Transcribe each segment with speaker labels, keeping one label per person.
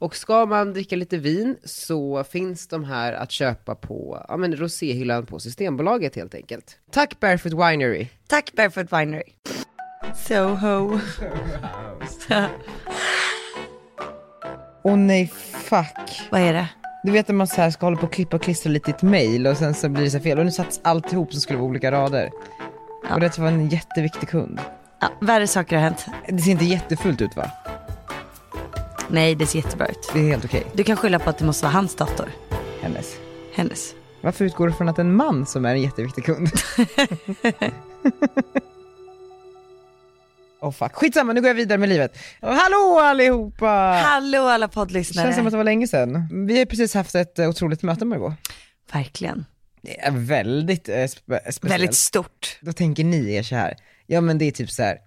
Speaker 1: Och ska man dricka lite vin så finns de här att köpa på ja, men roséhyllan på Systembolaget helt enkelt. Tack Barefoot Winery!
Speaker 2: Tack Barefoot Winery. Soho.
Speaker 1: Åh nej, fuck.
Speaker 2: Vad är det?
Speaker 1: Du vet när man så här ska hålla på och klippa och klistra lite i ett mail och sen så blir det så här fel och nu satt allt ihop som skulle vara olika rader. Och det var en jätteviktig kund.
Speaker 2: Ja, värre saker har hänt.
Speaker 1: Det ser inte jättefult ut va?
Speaker 2: Nej, det ser jättebra ut.
Speaker 1: Det är helt okej,
Speaker 2: Du kan skylla på att det måste vara hans dator.
Speaker 1: hennes.
Speaker 2: Hennes.
Speaker 1: Varför utgår du från att en man som är en jätteviktig kund? Åh fuck, skitsamma nu går jag vidare med livet. Hallå allihopa!
Speaker 2: Hallå alla
Speaker 1: Det Ah. känns som att
Speaker 2: poddlyssnare.
Speaker 1: det var länge sedan. Vi har precis haft ett eh, otroligt möte Margot.
Speaker 2: Verkligen.
Speaker 1: Det är väldigt eh, spe- speciellt.
Speaker 2: Väldigt stort.
Speaker 1: Då tänker ni er så här, ja men det är typ så här,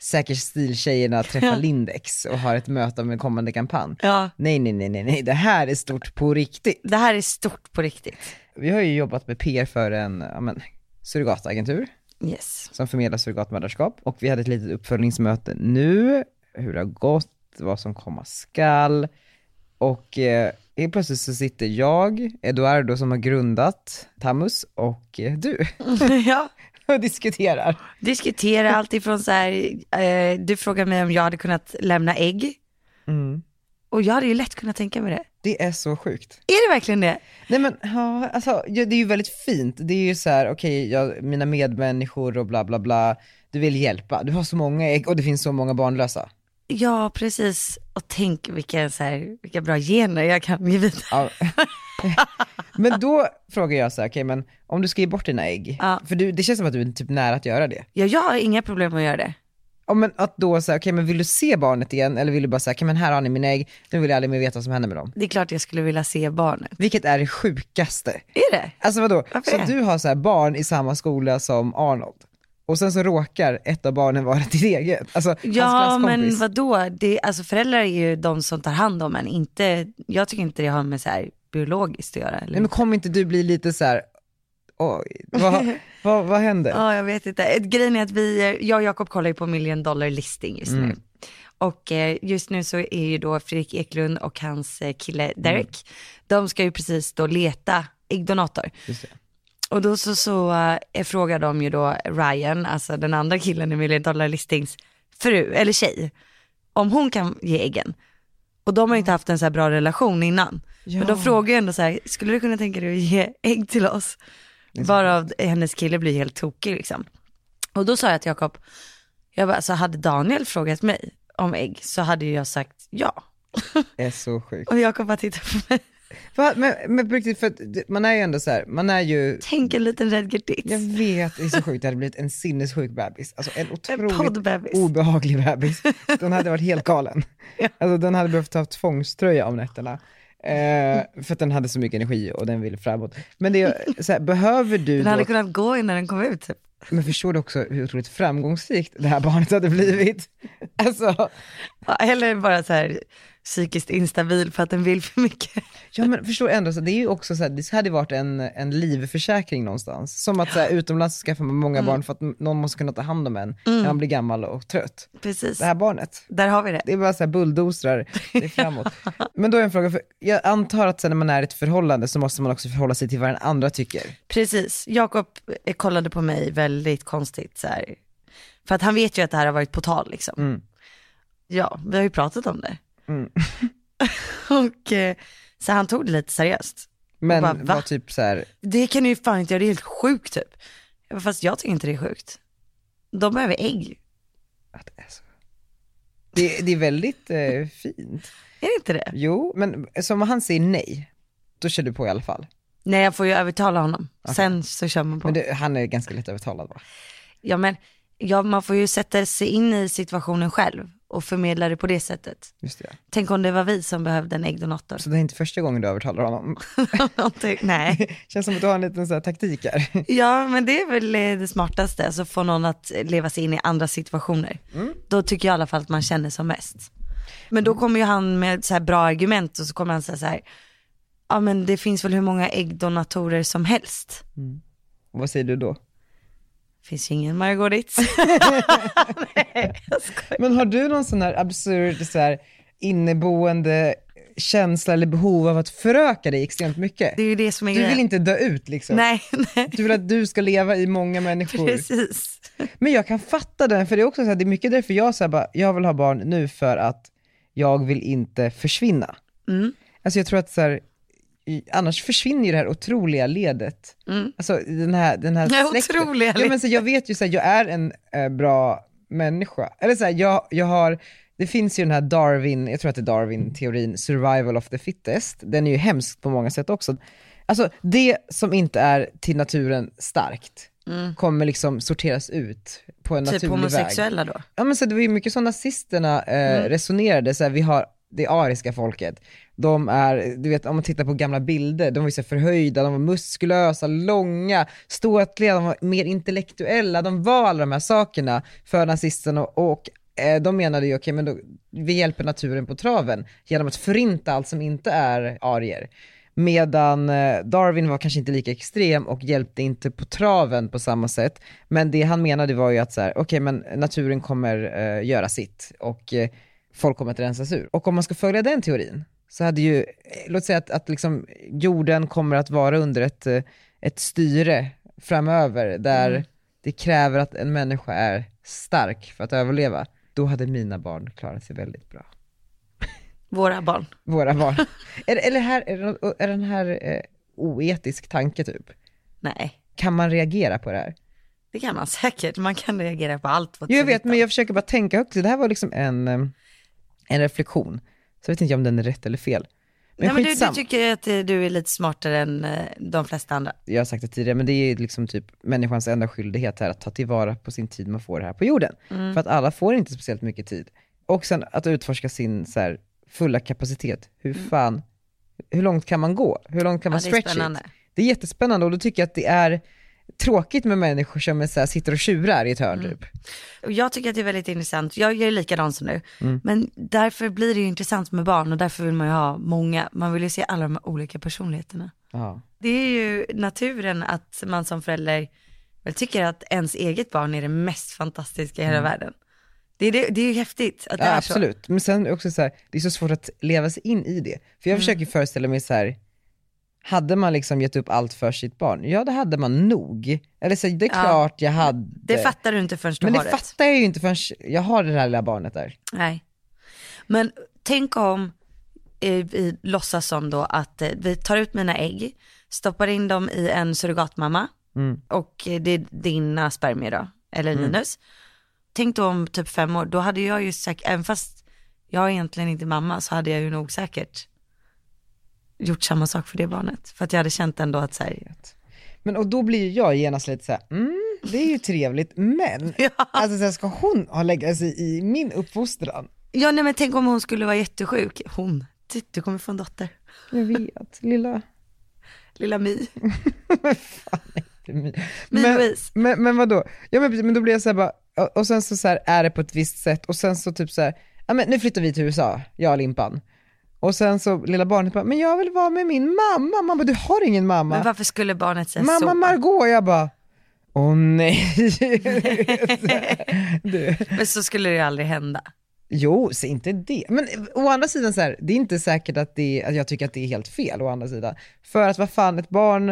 Speaker 1: säker stil-tjejerna träffar Lindex och har ett möte om en kommande kampanj.
Speaker 2: Ja,
Speaker 1: Nej, nej, nej, nej, nej, det här är stort på riktigt.
Speaker 2: det här är stort på riktigt.
Speaker 1: Vi har ju jobbat med PR för en, ja men, surrogatagentur.
Speaker 2: Yes.
Speaker 1: som förmedlar surrogatmödraskap och vi hade ett litet uppföljningsmöte nu, hur det har gått, vad som komma skall och eh, helt plötsligt så sitter jag, Eduardo som har grundat Tamus och eh, du
Speaker 2: ja.
Speaker 1: och diskuterar.
Speaker 2: Diskutera allt ifrån så här, eh, du frågar mig om jag hade kunnat lämna ägg. Och jag hade ju lätt kunnat tänka mig det.
Speaker 1: Det är så sjukt.
Speaker 2: Är det verkligen det?
Speaker 1: Nej men ja, alltså, ja, det är ju väldigt fint, det är ju så här, okej, jag, mina medmänniskor och bla bla bla, du vill hjälpa, du har så många ägg och det finns så många barnlösa.
Speaker 2: Ja, precis. Och tänk vilka, så här, vilka bra gener jag kan ge vidare.
Speaker 1: Ja. men då frågar jag så här, okej men om du ska ge bort dina ägg,
Speaker 2: Ja.
Speaker 1: för du, det känns som att du är typ nära att göra det.
Speaker 2: Ja, jag har inga problem med att göra det.
Speaker 1: Ja, men att då säga, okej men vill du se barnet igen eller vill du bara säga, okej men här har ni mina ägg, nu vill jag aldrig mer veta vad som händer med dem.
Speaker 2: Det är klart jag skulle vilja se barnet.
Speaker 1: Vilket är det sjukaste.
Speaker 2: Är det?
Speaker 1: Alltså vadå,
Speaker 2: Varför
Speaker 1: så
Speaker 2: det?
Speaker 1: du har så här barn i samma skola som Arnold och sen så råkar ett av barnen vara ditt eget, alltså
Speaker 2: Ja,
Speaker 1: hans
Speaker 2: men
Speaker 1: klasskompis.
Speaker 2: vadå? Det, alltså föräldrar är ju de som tar hand om en. Inte, jag tycker inte det har med så här, biologiskt att göra. Eller?
Speaker 1: Nej, men kommer inte du bli lite så här, oj, vad, vad, vad händer?
Speaker 2: Ja, jag vet inte. Ett- Grejen är att vi, jag och Jakob kollar ju på million dollar listing just nu. Och eh, just nu så är ju då Fredrik Eklund och hans eh, kille Derek, de ska ju precis då leta äggdonator.
Speaker 1: Just det.
Speaker 2: Och då så, så eh, frågar de ju då Ryan, alltså den andra killen i million dollar listings fru, eller tjej, om hon kan ge äggen. Och de har ju inte haft en så här bra relation innan. Men de frågar ju ändå så här, skulle du kunna tänka dig att ge ägg till oss? Varav hennes kille blir helt tokig liksom. Och då sa jag till Jakob, jag bara, alltså hade Daniel frågat mig om ägg så hade ju jag sagt ja.
Speaker 1: Det är så sjukt.
Speaker 2: Och Jakob bara tittar på mig,
Speaker 1: Va? Men, men på riktigt, för att det- man är ju ändå så här, man är ju,
Speaker 2: tänk en liten Redger
Speaker 1: jag
Speaker 2: Ditz.
Speaker 1: vet, det är så sjukt, det hade blivit en sinnessjuk bebis. Alltså en otroligt
Speaker 2: poddbebis.
Speaker 1: obehaglig bebis. Den hade varit helt galen. Alltså den hade behövt ha tvångströja om nätterna. Eh, för att den hade så mycket energi och den ville framåt. Men det är så här, behöver du
Speaker 2: Den hade
Speaker 1: då,
Speaker 2: kunnat gå innan den kom ut. Typ.
Speaker 1: men förstår du också hur otroligt framgångsrikt det här barnet hade blivit? Alltså,
Speaker 2: Ja, Eller bara så här psykiskt instabil för att den vill för mycket.
Speaker 1: Ja men förstår ändå, så det är ju också så här, det hade ju varit en, en livförsäkring någonstans. Som att så här, utomlands så skaffar man många
Speaker 2: Mm.
Speaker 1: barn för att m- någon måste kunna ta hand om en när man blir gammal och trött.
Speaker 2: Precis,
Speaker 1: Det här barnet,
Speaker 2: där har vi det.
Speaker 1: det är bara så här bulldozrar, det är framåt. men då är en fråga, för jag antar att sen när man är i ett förhållande så måste man också förhålla sig till vad den andra tycker.
Speaker 2: Precis, Jakob eh, kollade på mig väldigt konstigt så här. För att han vet ju att det här har varit på tal liksom.
Speaker 1: Mm.
Speaker 2: Ja, vi har ju pratat om det.
Speaker 1: Mm.
Speaker 2: och eh, så han tog det lite seriöst.
Speaker 1: Men
Speaker 2: bara, va?
Speaker 1: var typ så här,
Speaker 2: Det kan du ju fan inte göra, det är helt sjukt typ. Jag bara, Fast jag tycker inte det är sjukt. De behöver ägg,
Speaker 1: att det är så. Det, det är väldigt eh, fint.
Speaker 2: är det inte det?
Speaker 1: Jo, men som han säger nej, då kör du på i alla fall.
Speaker 2: Nej jag får ju övertala honom, sen så kör man på.
Speaker 1: Men det, han är ganska lätt övertalad va?
Speaker 2: Ja men, ja, man får ju sätta sig in i situationen själv och förmedla det på det sättet.
Speaker 1: Just det.
Speaker 2: Tänk om det var vi som behövde en äggdonator.
Speaker 1: Så det är inte första gången du övertalar honom.
Speaker 2: Någonting- Nej.
Speaker 1: Känns som att du har en liten så här taktik här.
Speaker 2: Ja men det är väl eh, det smartaste, alltså få någon att leva sig in i andra situationer.
Speaker 1: Mm.
Speaker 2: Då tycker jag i alla fall att man känner som mest. Men då kommer ju han med så här bra argument och så kommer han säga så här, ja men det finns väl hur många äggdonatorer som helst.
Speaker 1: Vad säger du då?
Speaker 2: Finns ju ingen Margot Ditz. Nej, jag skojar.
Speaker 1: Men har du någon sån här absurd så här, inneboende känsla eller behov av att föröka dig extremt mycket?
Speaker 2: Det är ju det som är
Speaker 1: Du
Speaker 2: grejen.
Speaker 1: vill inte dö ut liksom.
Speaker 2: Nej, nej,
Speaker 1: Du vill att du ska leva i många människor.
Speaker 2: precis.
Speaker 1: Men jag kan fatta den, för det är också så här, det är mycket därför jag säger bara, jag vill ha barn nu för att jag vill inte försvinna.
Speaker 2: Mm.
Speaker 1: Alltså jag tror att så här, i- annars försvinner ju det här otroliga ledet.
Speaker 2: Mm.
Speaker 1: Alltså den här, den här
Speaker 2: Det här
Speaker 1: släkten.
Speaker 2: otroliga
Speaker 1: ja, men så Jag vet ju så här, jag är en eh, bra människa. Eller så här, jag, jag har, det finns ju den här Darwin, jag tror att det är Darwin-teorin, survival of the fittest. Den är ju hemsk på många sätt också. Alltså det som inte är till naturen starkt kommer liksom sorteras ut på en
Speaker 2: Mm. Typ
Speaker 1: naturlig väg.
Speaker 2: homosexuella då.
Speaker 1: Ja men så det var ju mycket så nazisterna eh, resonerade, så här, vi har det ariska folket, de är, du vet om man tittar på gamla bilder, de var ju så här förhöjda, de var muskulösa, långa, ståtliga, de var mer intellektuella, de var alla de här sakerna för nazisterna och, och eh, de menade ju, okej men då, vi hjälper naturen på traven genom att förinta allt som inte är arier. Medan eh, Darwin var kanske inte lika extrem och hjälpte inte på traven på samma sätt. Men det han menade var ju att så här, okej men naturen kommer eh, göra sitt och eh, folk kommer att rensas ur. Och om man ska följa den teorin så hade ju, eh, låt säga att, att liksom jorden kommer att vara under ett, eh, ett styre framöver där det kräver att en människa är stark för att överleva. Då hade mina barn klarat sig väldigt bra
Speaker 2: Våra barn.
Speaker 1: våra barn. är, det- eller här, är, det, något- är den här eh, oetisk tanke typ?
Speaker 2: Nej,
Speaker 1: Kan man reagera på det här?
Speaker 2: det kan man säkert. Man kan reagera på allt. vad
Speaker 1: Jo, jag vet,
Speaker 2: tidigt.
Speaker 1: men jag försöker bara tänka högt. Det här var liksom en, eh, en reflektion. Så jag vet inte om den är rätt eller fel. Men
Speaker 2: Nej, men du, du
Speaker 1: skitsam.
Speaker 2: tycker att eh, du är lite smartare än eh, de flesta andra.
Speaker 1: jag har sagt det tidigare, men det är ju liksom typ människans enda skyldighet här att ta tillvara på sin tid man får här på jorden.
Speaker 2: Mm.
Speaker 1: För att alla får inte speciellt mycket tid. Och sen att utforska sin så här, fulla kapacitet. Hur fan, hur långt kan man gå? Hur långt kan
Speaker 2: Mm. Ja,
Speaker 1: man
Speaker 2: det är
Speaker 1: stretch
Speaker 2: spännande.
Speaker 1: it? Det är jättespännande och då tycker jag att det är tråkigt med människor som är så här, sitter och tjurar i ett hörn
Speaker 2: Mm.
Speaker 1: typ.
Speaker 2: Och jag tycker att det är väldigt intressant. Jag är likadan som du.
Speaker 1: Mm.
Speaker 2: Men därför blir det ju intressant med barn och därför vill man ju ha många. Man vill ju se alla de här olika personligheterna.
Speaker 1: Ja.
Speaker 2: Det är ju naturen att man som förälder väl tycker att ens eget barn är det mest fantastiska i hela världen. Det är, det, det är ju häftigt att det
Speaker 1: Mm. Ja,
Speaker 2: är så.
Speaker 1: absolut. Men sen också så här, det är så svårt att leva sig in i det. För
Speaker 2: Mm.
Speaker 1: jag försöker föreställa mig så här, hade man liksom gett upp allt för sitt barn? Ja, det hade man nog. Eller så här, det är
Speaker 2: Ja.
Speaker 1: klart jag hade.
Speaker 2: Det fattar du inte förrän du
Speaker 1: Men det
Speaker 2: har ett.
Speaker 1: fattar jag ju inte förrän jag har det här lilla barnet där.
Speaker 2: Nej. Men tänk om eh, vi låtsas som då att eh, vi tar ut mina ägg, stoppar in dem i en surrogatmamma
Speaker 1: Mm.
Speaker 2: och eh, det är dina spermier då, eller Linus. Tänk då om typ fem år, då hade jag ju säkert, även fast jag egentligen inte är mamma så hade jag ju nog säkert gjort samma sak för det barnet. För att jag hade känt ändå att så här,
Speaker 1: Men och då blir ju jag genast lite så här, mm, det är ju trevligt, men
Speaker 2: Ja.
Speaker 1: alltså så här, ska hon ha lägga sig i min uppfostran?
Speaker 2: ja nej men tänk om hon skulle vara jättesjuk, hon, du, du kommer få en dotter,
Speaker 1: Jag vet, lilla...
Speaker 2: lilla My.
Speaker 1: Men,
Speaker 2: Louise.
Speaker 1: men, men vadå? Ja men, precis, men då blir jag såhär bara, och, och sen så, så här, är det på ett visst sätt och sen så typ så här, ja men nu flyttar vi till USA, jag och Limpan. Och sen så lilla barnet bara, men jag vill vara med min mamma. Man bara, du har ingen mamma.
Speaker 2: Men varför skulle barnet säga så?
Speaker 1: mamma Margot, jag bara, åh nej. du.
Speaker 2: Men så skulle det ju aldrig hända.
Speaker 1: Jo, så inte det. Men eh, å andra sidan, så här, det är inte säkert att, det, att jag tycker att det är helt fel. Å andra sidan. För att vad fan, ett barn,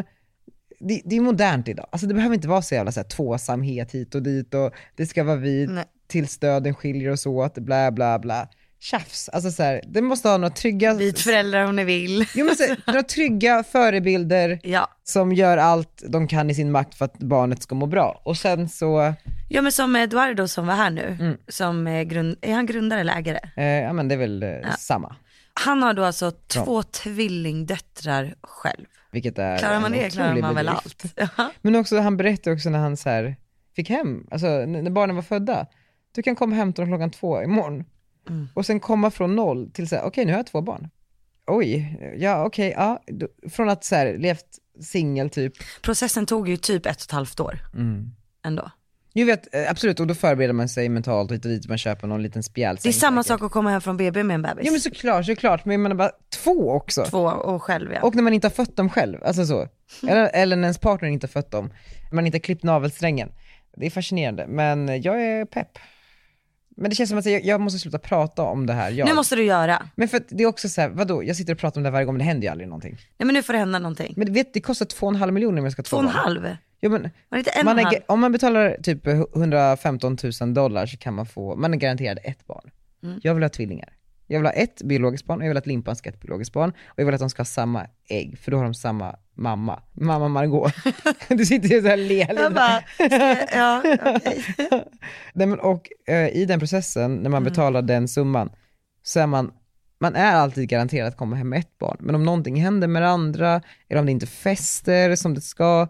Speaker 1: det, det är modernt idag. Alltså, det behöver inte vara så jävla så här, tvåsamhet hit och dit och det ska vara vi
Speaker 2: Nej.
Speaker 1: tills döden skiljer oss åt, bla bla bla. Tjafs. Alltså, så här, det måste ha några trygga,
Speaker 2: Byt föräldrar om ni vill.
Speaker 1: jo, men, så, här, några trygga förebilder
Speaker 2: Ja.
Speaker 1: som gör allt de kan i sin makt för att barnet ska må bra. Och sen så,
Speaker 2: ja, men som Eduardo som var här nu,
Speaker 1: Mm.
Speaker 2: som är, grund... är han grundare eller ägare?
Speaker 1: eh, ja men det är väl eh, samma.
Speaker 2: Han har då alltså två tvillingdöttrar själv.
Speaker 1: Vilket är
Speaker 2: Klarar man
Speaker 1: Äh, en
Speaker 2: det klarar
Speaker 1: otrolig
Speaker 2: man väl
Speaker 1: bedrift.
Speaker 2: allt. Ja.
Speaker 1: Men också, han berättade också när han så här, fick hem, alltså n- när barnen var födda, du kan komma hem till dem klockan två imorgon.
Speaker 2: Mm.
Speaker 1: Och sen komma från noll till så här, okej nu har jag två barn. Oj, ja okej, ja. Då- Från att så här, levt singel typ.
Speaker 2: Processen tog ju typ ett och ett halvt år ändå.
Speaker 1: Jo vet, eh, absolut, och då förbereder man sig mentalt och hit och dit, man köper någon liten
Speaker 2: Det är
Speaker 1: spjälsäng.
Speaker 2: samma
Speaker 1: säkert.
Speaker 2: sak att komma hem från BB med en bebis.
Speaker 1: Ja men såklart, såklart, men man är bara två också.
Speaker 2: Två och själv ja.
Speaker 1: Och när man inte har fött dem själv, alltså så. Eller, eller när ens partner inte har fött dem. Man inte har klippt navelsträngen. Det är fascinerande, men jag är pepp. Men det känns som att jag, jag måste sluta prata om det här, jag.
Speaker 2: Nu måste du göra.
Speaker 1: Men för att det är också så här, vadå, jag sitter och pratar om det här varje gång, men det händer ju aldrig någonting.
Speaker 2: Nej men nu får det hända någonting.
Speaker 1: Men vet, det kostar 2,5 miljoner om jag ska ha två
Speaker 2: Två och en
Speaker 1: barn.
Speaker 2: halv? Var
Speaker 1: Ja, men,
Speaker 2: det inte en
Speaker 1: man
Speaker 2: och en
Speaker 1: är,
Speaker 2: halv?
Speaker 1: ga- om man betalar typ 115 000 dollar så kan man få, man är garanterad ett barn.
Speaker 2: Mm.
Speaker 1: Jag vill ha tvillingar. Jag vill ha ett biologiskt barn, och jag vill att limpan ska ha ett biologiskt barn, och jag vill att de ska ha samma ägg, för då har de samma mamma. Mamma Margot. du sitter ju såhär och ler.
Speaker 2: Jag
Speaker 1: Lina.
Speaker 2: bara, ska- ja, okej.
Speaker 1: Nej, men, och eh, i den processen, när man betalar den summan, så är man, man är alltid garanterad att komma hem med ett barn. Men om någonting händer med det andra, eller om det inte fäster som det ska,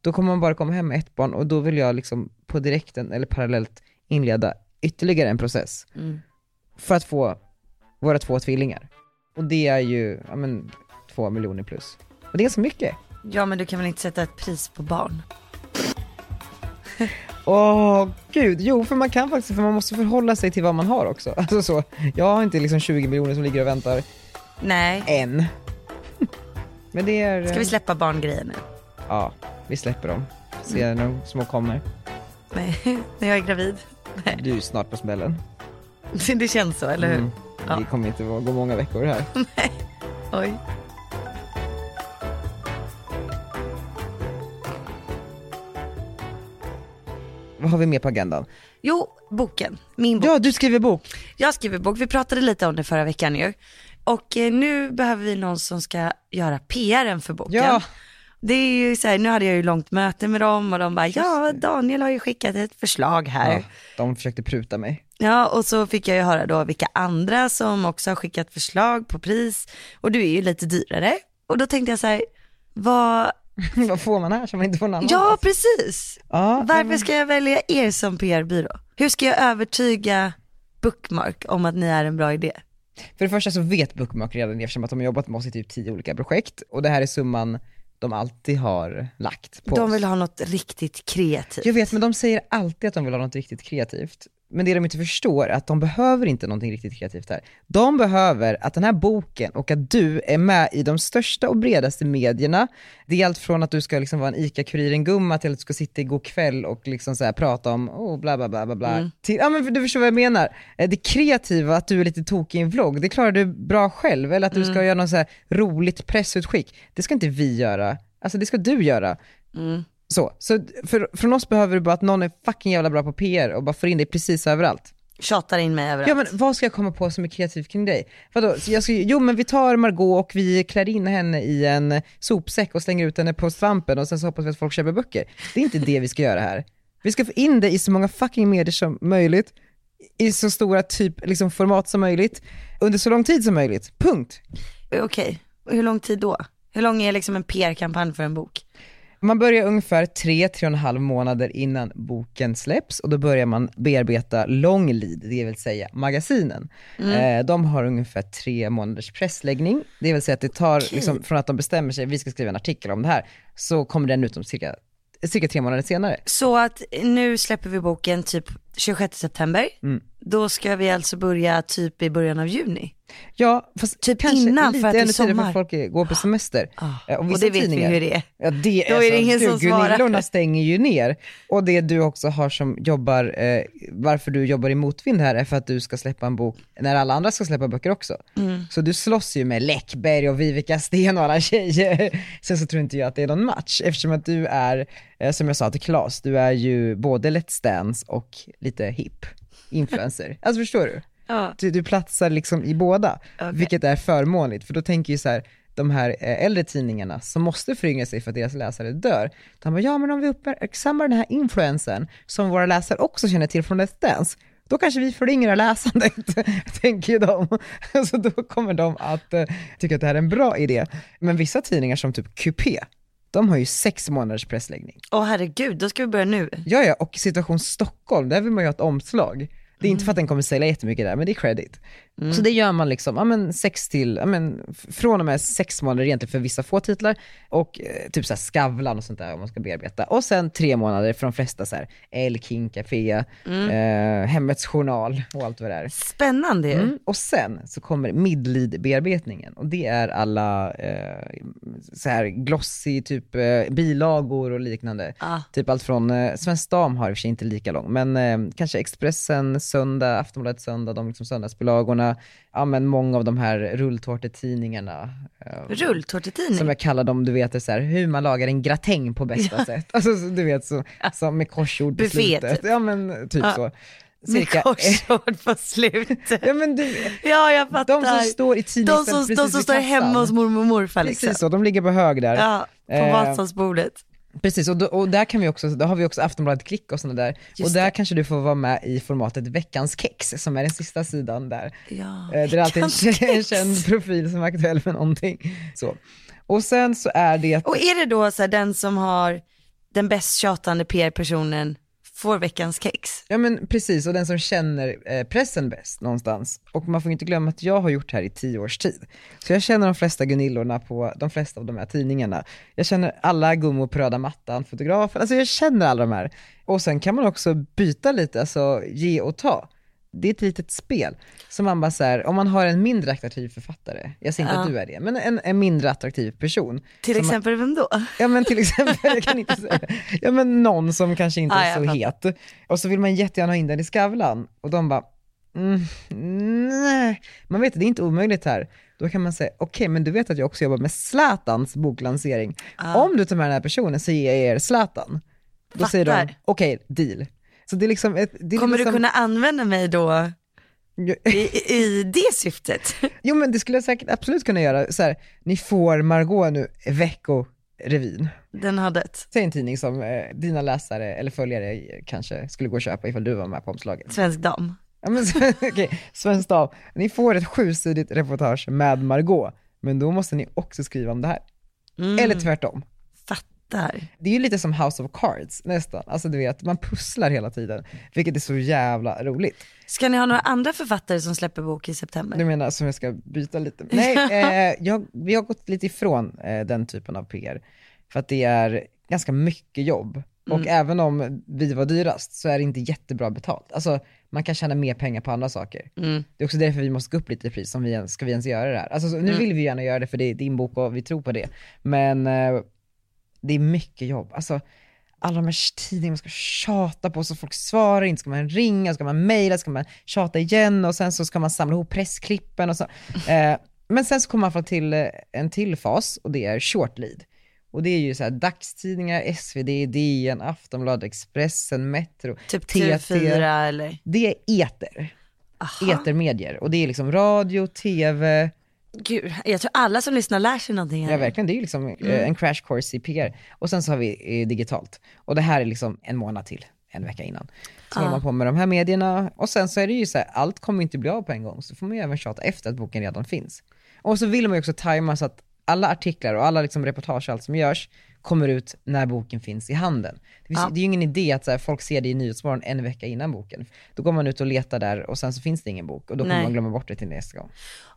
Speaker 1: då kommer man bara komma hem med ett barn och då vill jag liksom på direkten eller parallellt inleda ytterligare en process
Speaker 2: Mm.
Speaker 1: för att få våra två tvillingar. Och det är ju, ja men, två miljoner plus. Och det är så mycket.
Speaker 2: Ja men du kan väl inte sätta ett pris på barn?
Speaker 1: Åh gud, jo för man kan faktiskt, för man måste förhålla sig till vad man har också. Alltså så, jag har inte liksom 20 miljoner som ligger och väntar
Speaker 2: Nej.
Speaker 1: än. Men det är...
Speaker 2: Ska vi släppa barngrejen nu?
Speaker 1: Ja, vi släpper dem. Se när de små kommer.
Speaker 2: Nej, när jag är gravid.
Speaker 1: Du är ju snart på smällen.
Speaker 2: Det känns så, eller hur?
Speaker 1: Mm.
Speaker 2: Ja.
Speaker 1: Det kommer inte vara- gå många veckor här.
Speaker 2: Oj.
Speaker 1: Vad har vi mer på agendan?
Speaker 2: Jo, boken. Min bok.
Speaker 1: Ja, du skriver bok!
Speaker 2: Jag skriver bok, vi pratade lite om det förra veckan ju. Och eh, nu behöver vi någon som ska göra PRen för boken.
Speaker 1: Ja.
Speaker 2: Det är ju så här, nu hade jag ju långt möte med dem och de bara, ja Daniel har ju skickat ett förslag här.
Speaker 1: Ja,
Speaker 2: Ja.
Speaker 1: de försökte pruta mig.
Speaker 2: och så fick jag ju höra då vilka andra som också har skickat förslag på pris. Och du är ju lite dyrare. Och då tänkte jag så här, vad,
Speaker 1: vad får man här som man inte får någon annan?
Speaker 2: ja precis.
Speaker 1: ja nej,
Speaker 2: Varför
Speaker 1: men-
Speaker 2: ska jag välja er som PR-byrå? Hur ska jag övertyga Bookmark om att ni är en bra idé?
Speaker 1: För det första så vet Bookmark redan det eftersom att de har jobbat med oss i typ tio olika projekt och det här är summan de alltid har lagt på
Speaker 2: De
Speaker 1: oss.
Speaker 2: vill ha något riktigt kreativt.
Speaker 1: Jag vet, men de säger alltid att de vill ha något riktigt kreativt. Men det de inte förstår är att de behöver inte någonting riktigt kreativt här. De behöver att den här boken och att du är med i de största och bredaste medierna. Det är allt från att du ska liksom vara en ICA-Kuriren-gumma till att du ska sitta i god kväll och liksom så här prata om oh, bla bla bla bla bla. Till, ja, men du förstår vad jag menar. Eh, Det kreativa, att du är lite tokig i en vlogg, det klarar du bra själv. Eller att du ska göra något så här roligt pressutskick. Det ska inte vi göra. Alltså det ska du göra.
Speaker 2: Mm.
Speaker 1: Så, så för, från oss behöver du bara att någon är fucking jävla bra på PR och bara får in dig precis överallt.
Speaker 2: Tjatar in mig överallt.
Speaker 1: Ja men vad ska jag komma på som är kreativt kring dig? Vadå, så jag ska, jo men vi tar Margot och vi klär in henne i en sopsäck och slänger ut henne på svampen och sen så hoppas vi att folk köper böcker. Det är inte det vi ska göra här. Vi ska få in dig i så många fucking medier som möjligt, i så stora typ, liksom format som möjligt, under så lång tid som möjligt. Punkt.
Speaker 2: Okej, hur lång tid då? Hur lång är liksom en PR-kampanj för en bok?
Speaker 1: Man börjar ungefär 3-3,5 månader innan boken släpps och då börjar man bearbeta long lead, det vill säga magasinen.
Speaker 2: Mm.
Speaker 1: Eh, de har ungefär tre månaders pressläggning, det vill säga att det tar, liksom, från att de bestämmer sig, vi ska skriva en artikel om det här, så kommer den ut om cirka, cirka tre månader senare.
Speaker 2: Så att nu släpper vi boken typ 26 september.
Speaker 1: Mm.
Speaker 2: Då ska vi alltså börja typ i början av juni.
Speaker 1: Ja, fast
Speaker 2: Typ
Speaker 1: kanske
Speaker 2: innan,
Speaker 1: lite
Speaker 2: för att det är
Speaker 1: ännu tidigare,
Speaker 2: sommar. Ah,
Speaker 1: för folk är- går på semester. Eh,
Speaker 2: och
Speaker 1: vissa
Speaker 2: det vet vi hur det är.
Speaker 1: Ja, det är,
Speaker 2: Då är det
Speaker 1: så-
Speaker 2: ingen
Speaker 1: Gud,
Speaker 2: som svarar.
Speaker 1: Gunillorna stänger ju ner. Och det du också har som jobbar, eh, varför du jobbar i motvind här är för att du ska släppa en bok när alla andra ska släppa böcker också. Så du slåss ju med Läckberg och Vivica Sten och alla tjejer. Sen så tror inte jag att det är någon match eftersom att du är, eh, som jag sa till Claes, du är ju både Let's Dance och lite hip influencer. Alltså förstår du?
Speaker 2: Ja.
Speaker 1: du, du platsar liksom i båda,
Speaker 2: Okej.
Speaker 1: vilket är förmånligt. För då tänker ju så här, de här eh, äldre tidningarna som måste föryngra sig för att deras läsare dör, de bara, ja men om vi uppmärksammar den här influensen som våra läsare också känner till från Let's Dance, då kanske vi föryngrar läsandet, tänker ju de. Så då kommer de att eh, tycka att det här är en bra idé. Men vissa tidningar som typ QP, de har ju sex månaders pressläggning.
Speaker 2: Åh herregud, då ska vi börja nu.
Speaker 1: Ja, ja, och situation Stockholm, där vill man ju ha ett omslag. Det är inte för att den kommer sälja jättemycket där, men det är credit. Så det gör man liksom, ja men sex till, ja men f- från och med sex månader egentligen för vissa få titlar och eh, typ såhär Skavlan och sånt där om man ska bearbeta. Och sen tre månader för de flesta såhär, El King Café, eh, Hemmets Journal och allt vad det är.
Speaker 2: Spännande ju.
Speaker 1: Mm. Och sen så kommer midlead-bearbetningen och det är alla eh, så här glossy typ eh, bilagor och liknande.
Speaker 2: Ah.
Speaker 1: Typ allt från, eh, Svensk Dam har i och för sig inte lika lång, men eh, kanske Expressen söndag, Aftonbladet söndag, de liksom söndagsbilagorna, ja men många av de här rulltårtetidningarna. Eh, som
Speaker 2: Rulltårtetidning.
Speaker 1: jag kallar dem, du vet, det är så här, hur man lagar en gratäng på bästa sätt. Alltså så- du vet, så, som med korsord på
Speaker 2: Buffé,
Speaker 1: slutet. Ja men typ
Speaker 2: Ja.
Speaker 1: så.
Speaker 2: Med
Speaker 1: Cirka-
Speaker 2: korsord på slutet.
Speaker 1: Ja men du,
Speaker 2: Ja jag fattar.
Speaker 1: de som står i tidningen
Speaker 2: de som,
Speaker 1: precis
Speaker 2: de som
Speaker 1: vid
Speaker 2: står
Speaker 1: kassan.
Speaker 2: hemma hos mormor och morfar liksom.
Speaker 1: Precis så, de ligger på hög där.
Speaker 2: Ja, på
Speaker 1: Eh.
Speaker 2: Vasasbordet.
Speaker 1: Precis, och, då, och där kan vi också, då har vi också Aftonbladet Klick och sådana där.
Speaker 2: Just
Speaker 1: och där kanske du får vara med i formatet Veckans Kex, som är den sista sidan där.
Speaker 2: Ja,
Speaker 1: Eh, Där det är alltid en,
Speaker 2: Veckans
Speaker 1: kä- en
Speaker 2: kex.
Speaker 1: känd profil som är aktuell för någonting. Så. Och sen så är det,
Speaker 2: Och är det då så här, den som har den bäst tjatande PR-personen får veckans kex?
Speaker 1: ja men precis, och den som känner eh, pressen bäst någonstans. Och man får inte glömma att jag har gjort det här i tio års tid. Så jag känner de flesta Gunillorna på de flesta av de här tidningarna. Jag känner alla Gummo på röda mattan, fotografen, alltså jag känner alla de här. Och sen kan man också byta lite, alltså ge och ta. Det är ett litet spel. Så man bara så här, om man har en mindre attraktiv författare, jag säger inte
Speaker 2: Ja.
Speaker 1: att du är det, men en, en mindre attraktiv person.
Speaker 2: Till
Speaker 1: som man-
Speaker 2: exempel vem då?
Speaker 1: Ja men till exempel, jag kan inte säga. Ja men någon som kanske inte
Speaker 2: Ah,
Speaker 1: är
Speaker 2: jag
Speaker 1: så het. Och så vill man jättegärna ha in den i Skavlan. Och de bara, mm, nej. Man vet, det är inte omöjligt här. Då kan man säga, okej men du vet att jag också jobbar med Zlatans boklansering.
Speaker 2: Ah.
Speaker 1: Om du tar med den här personen så ger jag er Zlatan. Då säger de,
Speaker 2: Fattar.
Speaker 1: okej, deal. Så det är liksom ett, det är
Speaker 2: Kommer du
Speaker 1: liksom,
Speaker 2: kunna använda mig då i, i det syftet?
Speaker 1: Jo men det skulle jag säkert absolut kunna göra. Så här, ni får Margot nu, veckorevyn.
Speaker 2: Den har dött.
Speaker 1: Säg en tidning som eh, dina läsare eller följare eh, kanske skulle gå och köpa ifall du var med på omslaget.
Speaker 2: Svensk dam.
Speaker 1: Ja, men, så- okej, Svensk Stav, ni får ett sjusidigt reportage med Margot, men då måste ni också skriva om det här.
Speaker 2: Mm,
Speaker 1: Eller tvärtom.
Speaker 2: Fattar.
Speaker 1: Det är ju lite som House of Cards nästan, alltså du vet, man pusslar hela tiden, vilket är så jävla roligt.
Speaker 2: Ska ni ha några andra författare som släpper bok i september?
Speaker 1: Du menar som jag ska byta lite? Nej, eh, jag, vi har gått lite ifrån eh, den typen av PR, för att det är ganska mycket jobb. Och även om vi var dyrast så är det inte jättebra betalt. Alltså man kan tjäna mer pengar på andra saker.
Speaker 2: Mm.
Speaker 1: Det är också därför vi måste gå upp lite i pris om vi ens, ska vi ens göra det här. Alltså så, nu vill vi gärna göra det för det är din bok och vi tror på det. Men eh, det är mycket jobb. Alltså alla de här tidningarna man ska tjata på så folk svarar inte, ska man ringa, ska man mejla, ska man tjata igen och sen så ska man samla ihop pressklippen och så. Eh, men sen så kommer man fram till eh, en till fas och det är short lead. Och det är ju så här dagstidningar, SvD, DN, Aftonbladet, Expressen, Metro,
Speaker 2: Typ
Speaker 1: TT.
Speaker 2: TV4 eller?
Speaker 1: Det är eter, E-
Speaker 2: Aha.
Speaker 1: etermedier. Och det är liksom radio, tv,
Speaker 2: Gud, jag tror alla som lyssnar lär sig någonting här.
Speaker 1: Ja verkligen, det är ju liksom
Speaker 2: Mm.
Speaker 1: eh, en crash course i PR. Och sen så har vi eh, digitalt. Och det här är liksom en månad till, en vecka innan. Så håller man på med de här medierna. Och sen så är det ju så här, allt kommer inte bli av på en gång. Så får man ju även tjata efter att boken redan finns. Och så vill man ju också tajma så att alla artiklar och alla liksom reportage och allt som görs kommer ut när boken finns i handen. Det, finns,
Speaker 2: Ja.
Speaker 1: det är ju ingen idé att så här, folk ser det i Nyhetsmorgon en vecka innan boken. Då går man ut och letar där och sen så finns det ingen bok och då kommer
Speaker 2: Nej.
Speaker 1: man glömma bort det till nästa gång.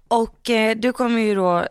Speaker 2: Och eh, du kommer ju då,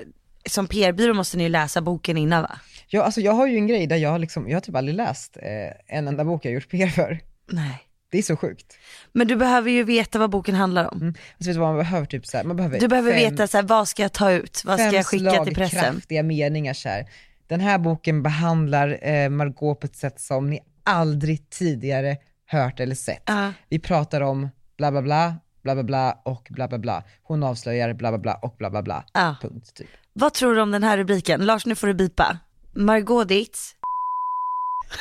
Speaker 2: som PR-byrå måste ni ju läsa boken innan va?
Speaker 1: Ja, alltså jag har ju en grej där jag har liksom, jag har typ aldrig läst eh, en
Speaker 2: Mm.
Speaker 1: enda bok jag gjort PR för.
Speaker 2: Nej.
Speaker 1: Det är så sjukt.
Speaker 2: Men du behöver ju veta vad boken handlar om.
Speaker 1: Alltså vet du vad man behöver? Typ så här, man behöver
Speaker 2: Du behöver
Speaker 1: fem,
Speaker 2: veta så här, vad ska jag ta ut, vad ska
Speaker 1: fem
Speaker 2: jag skicka
Speaker 1: slag
Speaker 2: till pressen.
Speaker 1: kraftiga meningar så här. Den här boken behandlar eh, Margot på ett sätt som ni aldrig tidigare hört eller sett.
Speaker 2: Ja.
Speaker 1: Vi pratar om bla bla bla, bla bla bla och bla bla bla. Hon avslöjar bla bla bla och bla bla bla.
Speaker 2: Ja.
Speaker 1: Punkt, typ.
Speaker 2: Vad tror du om den här rubriken? Lars nu får du bipa. Margot Dietz.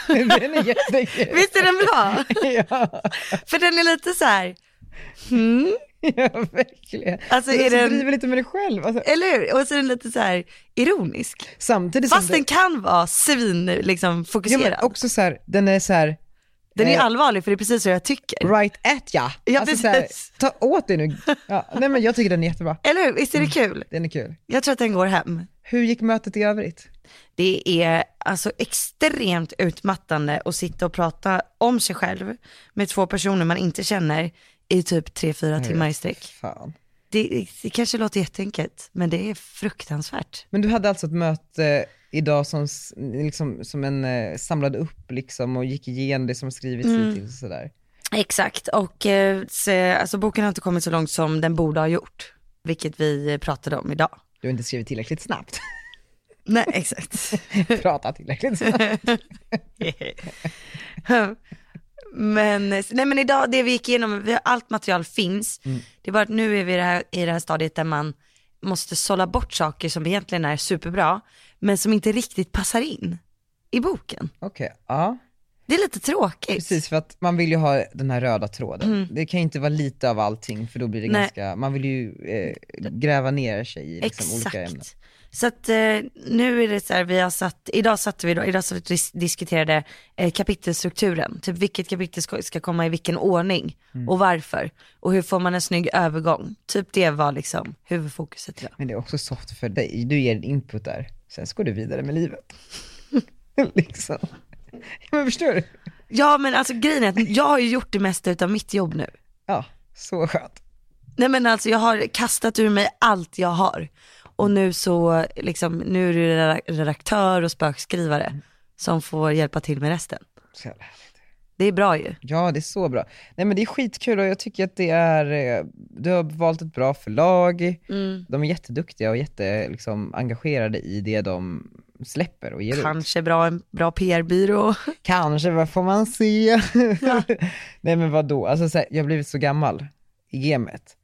Speaker 1: Den är jättekul.
Speaker 2: Visst är den bra?
Speaker 1: ja,
Speaker 2: För den är lite så här, hmm,
Speaker 1: ja, verkligen.
Speaker 2: Alltså,
Speaker 1: Men
Speaker 2: är
Speaker 1: så
Speaker 2: den-
Speaker 1: driver lite med dig själv. Alltså,
Speaker 2: eller hur? Och så är den lite så här ironisk.
Speaker 1: samtidigt
Speaker 2: Fast
Speaker 1: som det-
Speaker 2: den kan vara svin liksom,
Speaker 1: Ja, men
Speaker 2: fokuserad.
Speaker 1: också så här, den är så här
Speaker 2: den är ju
Speaker 1: eh,
Speaker 2: allvarlig för det är precis så jag tycker.
Speaker 1: right at ya.
Speaker 2: Ja,
Speaker 1: alltså, så här,
Speaker 2: precis.
Speaker 1: ta åt dig nu. Ja, nej men jag tycker den är jättebra.
Speaker 2: Eller hur? Visst är det kul?
Speaker 1: Den är kul.
Speaker 2: Jag tror att den går hem.
Speaker 1: Hur gick mötet i övrigt?
Speaker 2: Det är alltså extremt utmattande att sitta och prata om sig själv med två personer man inte känner i typ
Speaker 1: Mm.
Speaker 2: 3-4 timmar i sträck.
Speaker 1: Fan.
Speaker 2: Det, det kanske låter jätteenkelt, men det är fruktansvärt.
Speaker 1: Men du hade alltså ett möte idag som, s- liksom, som en eh, samlade upp liksom och gick igenom det som skrivits
Speaker 2: Mm.
Speaker 1: hittills och sådär.
Speaker 2: Exakt, och eh, se, alltså, boken har inte kommit så långt som den borde ha gjort, vilket vi pratade om idag.
Speaker 1: Du har inte skrivit tillräckligt snabbt,
Speaker 2: Nej, exakt.
Speaker 1: pratat tillräckligt snabbt.
Speaker 2: men, nej men idag, det vi gick igenom, vi har, allt material finns. Det är bara att nu är vi i det, här, i det här stadiet där man måste sålla bort saker som egentligen är superbra, men som inte riktigt passar in i boken.
Speaker 1: Okej, ja.
Speaker 2: Det är lite tråkigt.
Speaker 1: Precis, för att man vill ju ha den här röda tråden. Det kan ju inte vara lite av allting, för då blir det
Speaker 2: Mm. Nej.
Speaker 1: ganska, man vill ju eh, gräva ner sig i liksom,
Speaker 2: Exakt.
Speaker 1: olika ämnen.
Speaker 2: Så att eh, nu är det så här, vi har satt, idag satte vi då, idag satt vi och dis- diskuterade eh, kapitelstrukturen, typ vilket kapitel ska, ska komma i vilken ordning
Speaker 1: Mm.
Speaker 2: och varför och hur får man en snygg övergång. Typ det var liksom huvudfokuset idag.
Speaker 1: Men det är också soft för dig, du ger en input där, sen så går du vidare med livet. liksom. Ja, men förstår du?
Speaker 2: Ja men alltså grejen är att jag har ju gjort det mesta utav mitt jobb nu.
Speaker 1: Ja, så skönt.
Speaker 2: Nej men alltså jag har kastat ur mig allt jag har. Och nu så, liksom, nu är det redak- redaktör och
Speaker 1: Mm.
Speaker 2: spökskrivare som får hjälpa till med resten.
Speaker 1: Så jävla härligt.
Speaker 2: Det är bra ju.
Speaker 1: Ja, det är så bra. Nej men det är skitkul och jag tycker att det är, eh, du har valt ett bra förlag, de är jätteduktiga och jätte, liksom, engagerade i det de släpper och ger ut.
Speaker 2: Kanske bra, en bra PR-byrå.
Speaker 1: Kanske, vad får man se? Nej men vadå, alltså så här, jag har blivit så gammal i gamet,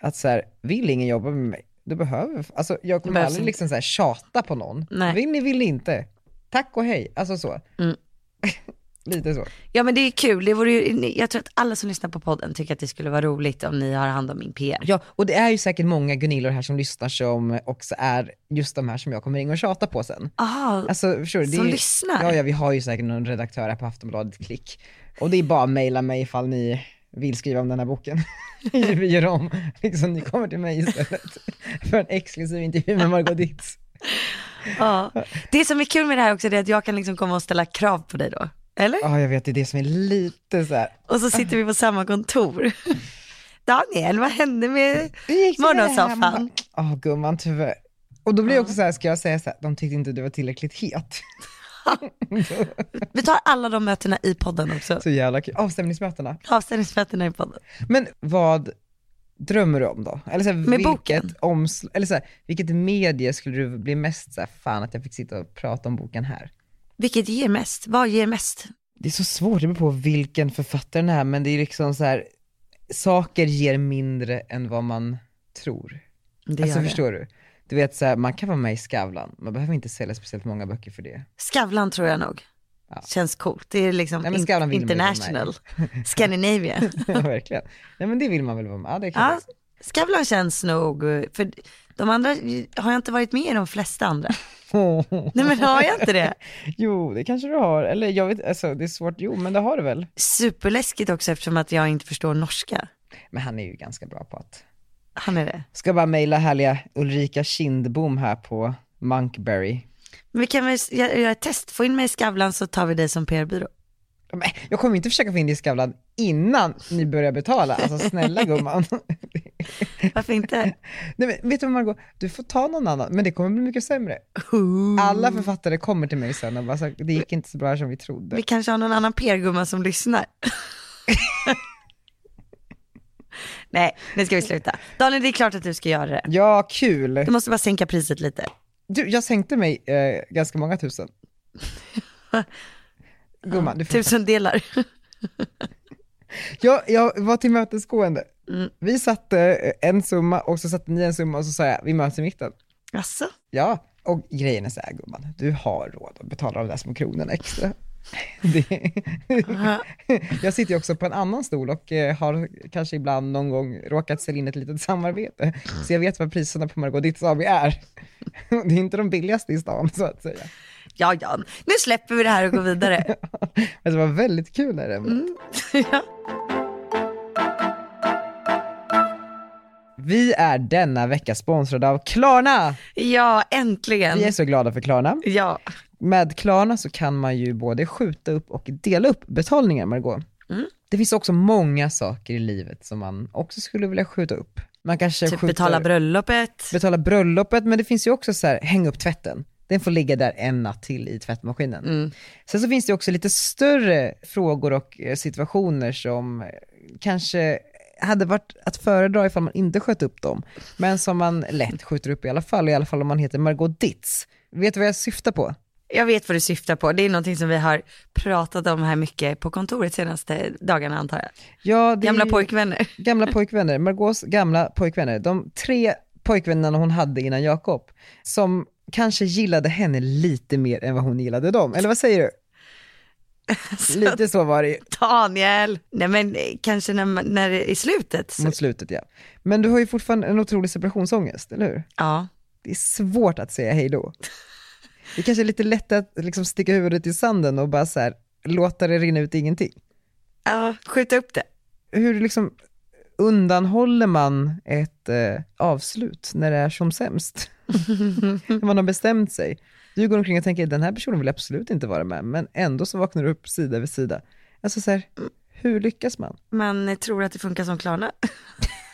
Speaker 1: att så här, vill ingen jobba med mig, då behöver, alltså jag kommer
Speaker 2: Behövs
Speaker 1: aldrig
Speaker 2: inte.
Speaker 1: liksom så här tjata på någon.
Speaker 2: Nej.
Speaker 1: Vill ni, vill ni inte. Tack och hej, alltså så.
Speaker 2: Mm.
Speaker 1: Lite så.
Speaker 2: Ja men det är kul, det vore ju, jag tror att alla som lyssnar på podden tycker att det skulle vara roligt om ni har hand om min PR.
Speaker 1: Ja, och det är ju säkert många Gunillor här som lyssnar som också är just de här som jag kommer ringa och tjata på sen.
Speaker 2: Aha,
Speaker 1: Alltså förstår du? Det
Speaker 2: som
Speaker 1: är,
Speaker 2: lyssnar?
Speaker 1: Ja, ja, vi har ju säkert någon redaktör här på Aftonbladet Klick. Och det är bara att mejla mig ifall ni vill skriva om den här boken. vi gör om, liksom ni kommer till mig istället. För en exklusiv intervju med Margot Ditz.
Speaker 2: ja. Det som är kul med det här också det är att jag kan liksom komma och ställa krav på dig då. Eller?
Speaker 1: Ja, jag vet, det är det som är lite så här.
Speaker 2: Och så sitter vi på samma kontor. Daniel, vad hände med...
Speaker 1: Hur gick det med det här?
Speaker 2: Morgonsoffan.
Speaker 1: Man bara, Ja, gumman tyvärr. Och då blir jag också så här, ska jag säga så här, de tyckte inte du var tillräckligt het.
Speaker 2: Vi tar alla de mötena i podden också.
Speaker 1: Så jävla kul. Avstämningsmötena.
Speaker 2: Avstämningsmötena i podden.
Speaker 1: Men vad drömmer du om då? Eller så här, vilket
Speaker 2: boken?
Speaker 1: Omsl- eller så här, vilket medie skulle du bli mest så här, fan att jag fick sitta och prata om boken här?
Speaker 2: Vilket ger mest? Vad ger mest?
Speaker 1: Det är så svårt, det beror på vilken författare den är, men det är liksom så här, saker ger mindre än vad man tror.
Speaker 2: Det
Speaker 1: alltså
Speaker 2: gör det.
Speaker 1: förstår du? Du vet så här, man kan vara med i Skavlan, man behöver inte sälja speciellt många böcker för det.
Speaker 2: Skavlan tror jag nog.
Speaker 1: Ja.
Speaker 2: Känns coolt. Det är liksom
Speaker 1: Nej, men
Speaker 2: in-
Speaker 1: Skavlan vill man ju vara med i.
Speaker 2: international. Scandinavian.
Speaker 1: Verkligen. Nej men det vill man väl vara med, ja, det kan
Speaker 2: Ja,
Speaker 1: jag säga.
Speaker 2: Skavlan känns nog, för de andra har jag inte varit med i de flesta andra.
Speaker 1: Åh,
Speaker 2: Nej men har jag inte det?
Speaker 1: Jo, det kanske du har, eller jag vet, alltså det är svårt, jo men det har du väl?
Speaker 2: Superläskigt också eftersom att jag inte förstår norska.
Speaker 1: Men han är ju ganska bra på att
Speaker 2: Han är det.
Speaker 1: Ska bara mejla härliga Ulrika Kindbom här på Monkberry.
Speaker 2: Men vi kan väl s- göra göra ett test, få in mig i Skavlan så tar vi dig som PR-byrå.
Speaker 1: Men Jag kommer inte försöka få in det i Skavlan innan ni börjar betala, alltså snälla gumman.
Speaker 2: Varför inte?
Speaker 1: Nej men vet du vad Margot, du får ta någon annan, men det kommer bli mycket sämre. Alla författare kommer till mig sen och bara så, här, det gick inte så bra här som vi trodde.
Speaker 2: Vi kanske har någon annan PR-gumma som lyssnar. Nej, nu ska vi sluta. Daniel, det är klart att du ska göra det.
Speaker 1: Ja, kul.
Speaker 2: Du måste bara sänka priset lite.
Speaker 1: Du, jag sänkte mig eh, ganska många tusen. Gumman, du får
Speaker 2: Tusen delar.
Speaker 1: Jag, jag var tillmötesgående. Vi satte eh, en summa och så satte ni en summa och så sa jag, vi möts i mitten.
Speaker 2: Jaså?
Speaker 1: Ja, och grejen är så här gumman, du har råd att betala de där små kronorna extra. Det, Mm. jag sitter ju också på en annan stol och eh, har kanske ibland någon gång råkat sälja in ett litet samarbete. Så jag vet vad priserna på Margot Ditts AB är. Det är inte de billigaste i stan så att säga.
Speaker 2: Ja, ja. Nu släpper vi det här och går vidare.
Speaker 1: Men det var väldigt kul när det
Speaker 2: ja.
Speaker 1: Vi är denna vecka sponsrade av Klarna!
Speaker 2: Ja, äntligen.
Speaker 1: Vi är så glada för Klarna.
Speaker 2: Ja, Mm.
Speaker 1: Med Klarna så kan man ju både skjuta upp och dela upp betalningar, Margot. Det finns också många saker i livet som man också skulle vilja skjuta upp. Man kanske
Speaker 2: Typ
Speaker 1: skjuter,
Speaker 2: betala bröllopet.
Speaker 1: betala bröllopet, men det finns ju också så här, häng upp tvätten. Den får ligga där en natt till i tvättmaskinen.
Speaker 2: Mm.
Speaker 1: Sen så finns det också lite större frågor och eh, situationer som eh, kanske hade varit att föredra ifall man inte sköt upp dem, men som man lätt skjuter upp i alla fall, i alla fall om man heter Margot Ditz. Vet du vad jag syftar på?
Speaker 2: Jag vet vad du syftar på. Det är någonting som vi har pratat om här mycket på kontoret senaste dagarna antar jag.
Speaker 1: Ja, det är
Speaker 2: Gamla
Speaker 1: ju-
Speaker 2: pojkvänner.
Speaker 1: Gamla pojkvänner, Margaux gamla pojkvänner, de tre pojkvännerna hon hade innan Jakob, som kanske gillade henne lite mer än vad hon gillade dem, eller vad säger du? Lite så var det ju
Speaker 2: Daniel. Nej men eh, kanske när, man- när det är i slutet. Så,
Speaker 1: mot slutet ja. Men du har ju fortfarande en otrolig separationsångest, eller hur?
Speaker 2: ja.
Speaker 1: Det är svårt att säga hej då. Det kanske är lite lätt att liksom sticka huvudet i sanden och bara så här, låta det rinna ut i ingenting.
Speaker 2: ja, skjuta upp det.
Speaker 1: Hur liksom undanhåller man ett eh, avslut när det är som sämst? när man har bestämt sig. Du går omkring och tänker, den här personen vill jag absolut inte vara med, men ändå så vaknar du upp sida vid sida. Alltså så här, hur lyckas man?
Speaker 2: Man eh, tror att det funkar som Klarna.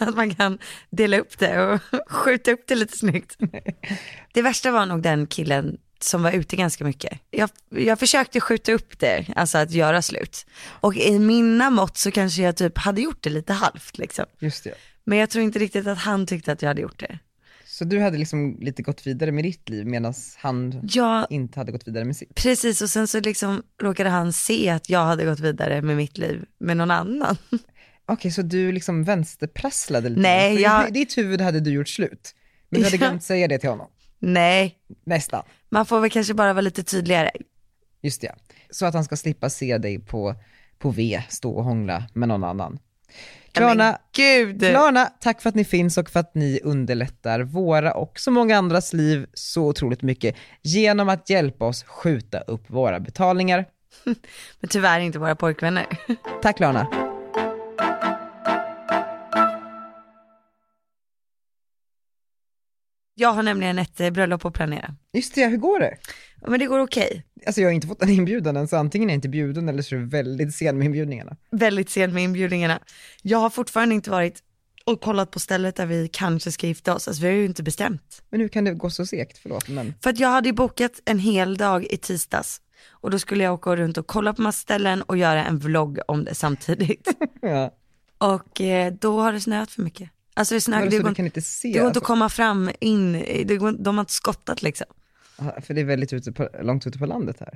Speaker 2: Att man kan dela upp det och skjuta upp det lite snyggt. Det värsta var nog den killen som var ute ganska mycket. Jag, jag försökte skjuta upp det, alltså att göra slut. Och i mina mått så kanske jag typ hade gjort det lite halvt liksom.
Speaker 1: Just det.
Speaker 2: Men jag tror inte riktigt att han tyckte att jag hade gjort det.
Speaker 1: Så du hade liksom lite gått vidare med ditt liv medan han
Speaker 2: Ja,
Speaker 1: inte hade gått vidare med sitt.
Speaker 2: precis och sen så liksom råkade han se att jag hade gått vidare med mitt liv med någon annan.
Speaker 1: Okej, så du liksom vänsterprasslade lite?
Speaker 2: Nej,
Speaker 1: För
Speaker 2: jag-
Speaker 1: I ditt huvud hade du gjort slut, men du hade glömt säga det till honom.
Speaker 2: Nej,
Speaker 1: Nästan.
Speaker 2: man får väl kanske bara vara lite tydligare.
Speaker 1: Just det, så att han ska slippa se dig på, på V stå och hångla med någon annan. Klarna,
Speaker 2: Men gud!
Speaker 1: Klarna, tack för att ni finns och för att ni underlättar våra och så många andras liv så otroligt mycket genom att hjälpa oss skjuta upp våra betalningar.
Speaker 2: Men tyvärr inte våra pojkvänner.
Speaker 1: Tack Klarna.
Speaker 2: Jag har nämligen ett eh, bröllop att planera.
Speaker 1: Just det, hur går det?
Speaker 2: Men det går okej.
Speaker 1: Alltså jag har inte fått en inbjudan än, så antingen är jag inte bjuden eller så är det väldigt sen med inbjudningarna.
Speaker 2: Väldigt sen med inbjudningarna. Jag har fortfarande inte varit och kollat på stället där vi kanske ska gifta oss. Alltså vi har ju inte bestämt.
Speaker 1: Men hur kan det gå så segt? Förlåt, men
Speaker 2: För att jag hade ju bokat en hel dag i tisdags. Och då skulle jag åka runt och kolla på massa ställen och göra en vlogg om det samtidigt.
Speaker 1: ja.
Speaker 2: och eh, då har det snöat för mycket. Alltså det snöar,
Speaker 1: Vadå,
Speaker 2: det
Speaker 1: så
Speaker 2: går
Speaker 1: du
Speaker 2: inte
Speaker 1: kan inte se?
Speaker 2: det går inte
Speaker 1: alltså?
Speaker 2: att komma fram in, i- det går, de har inte skottat liksom.
Speaker 1: Ja, För det är väldigt ute på, långt ute på landet här.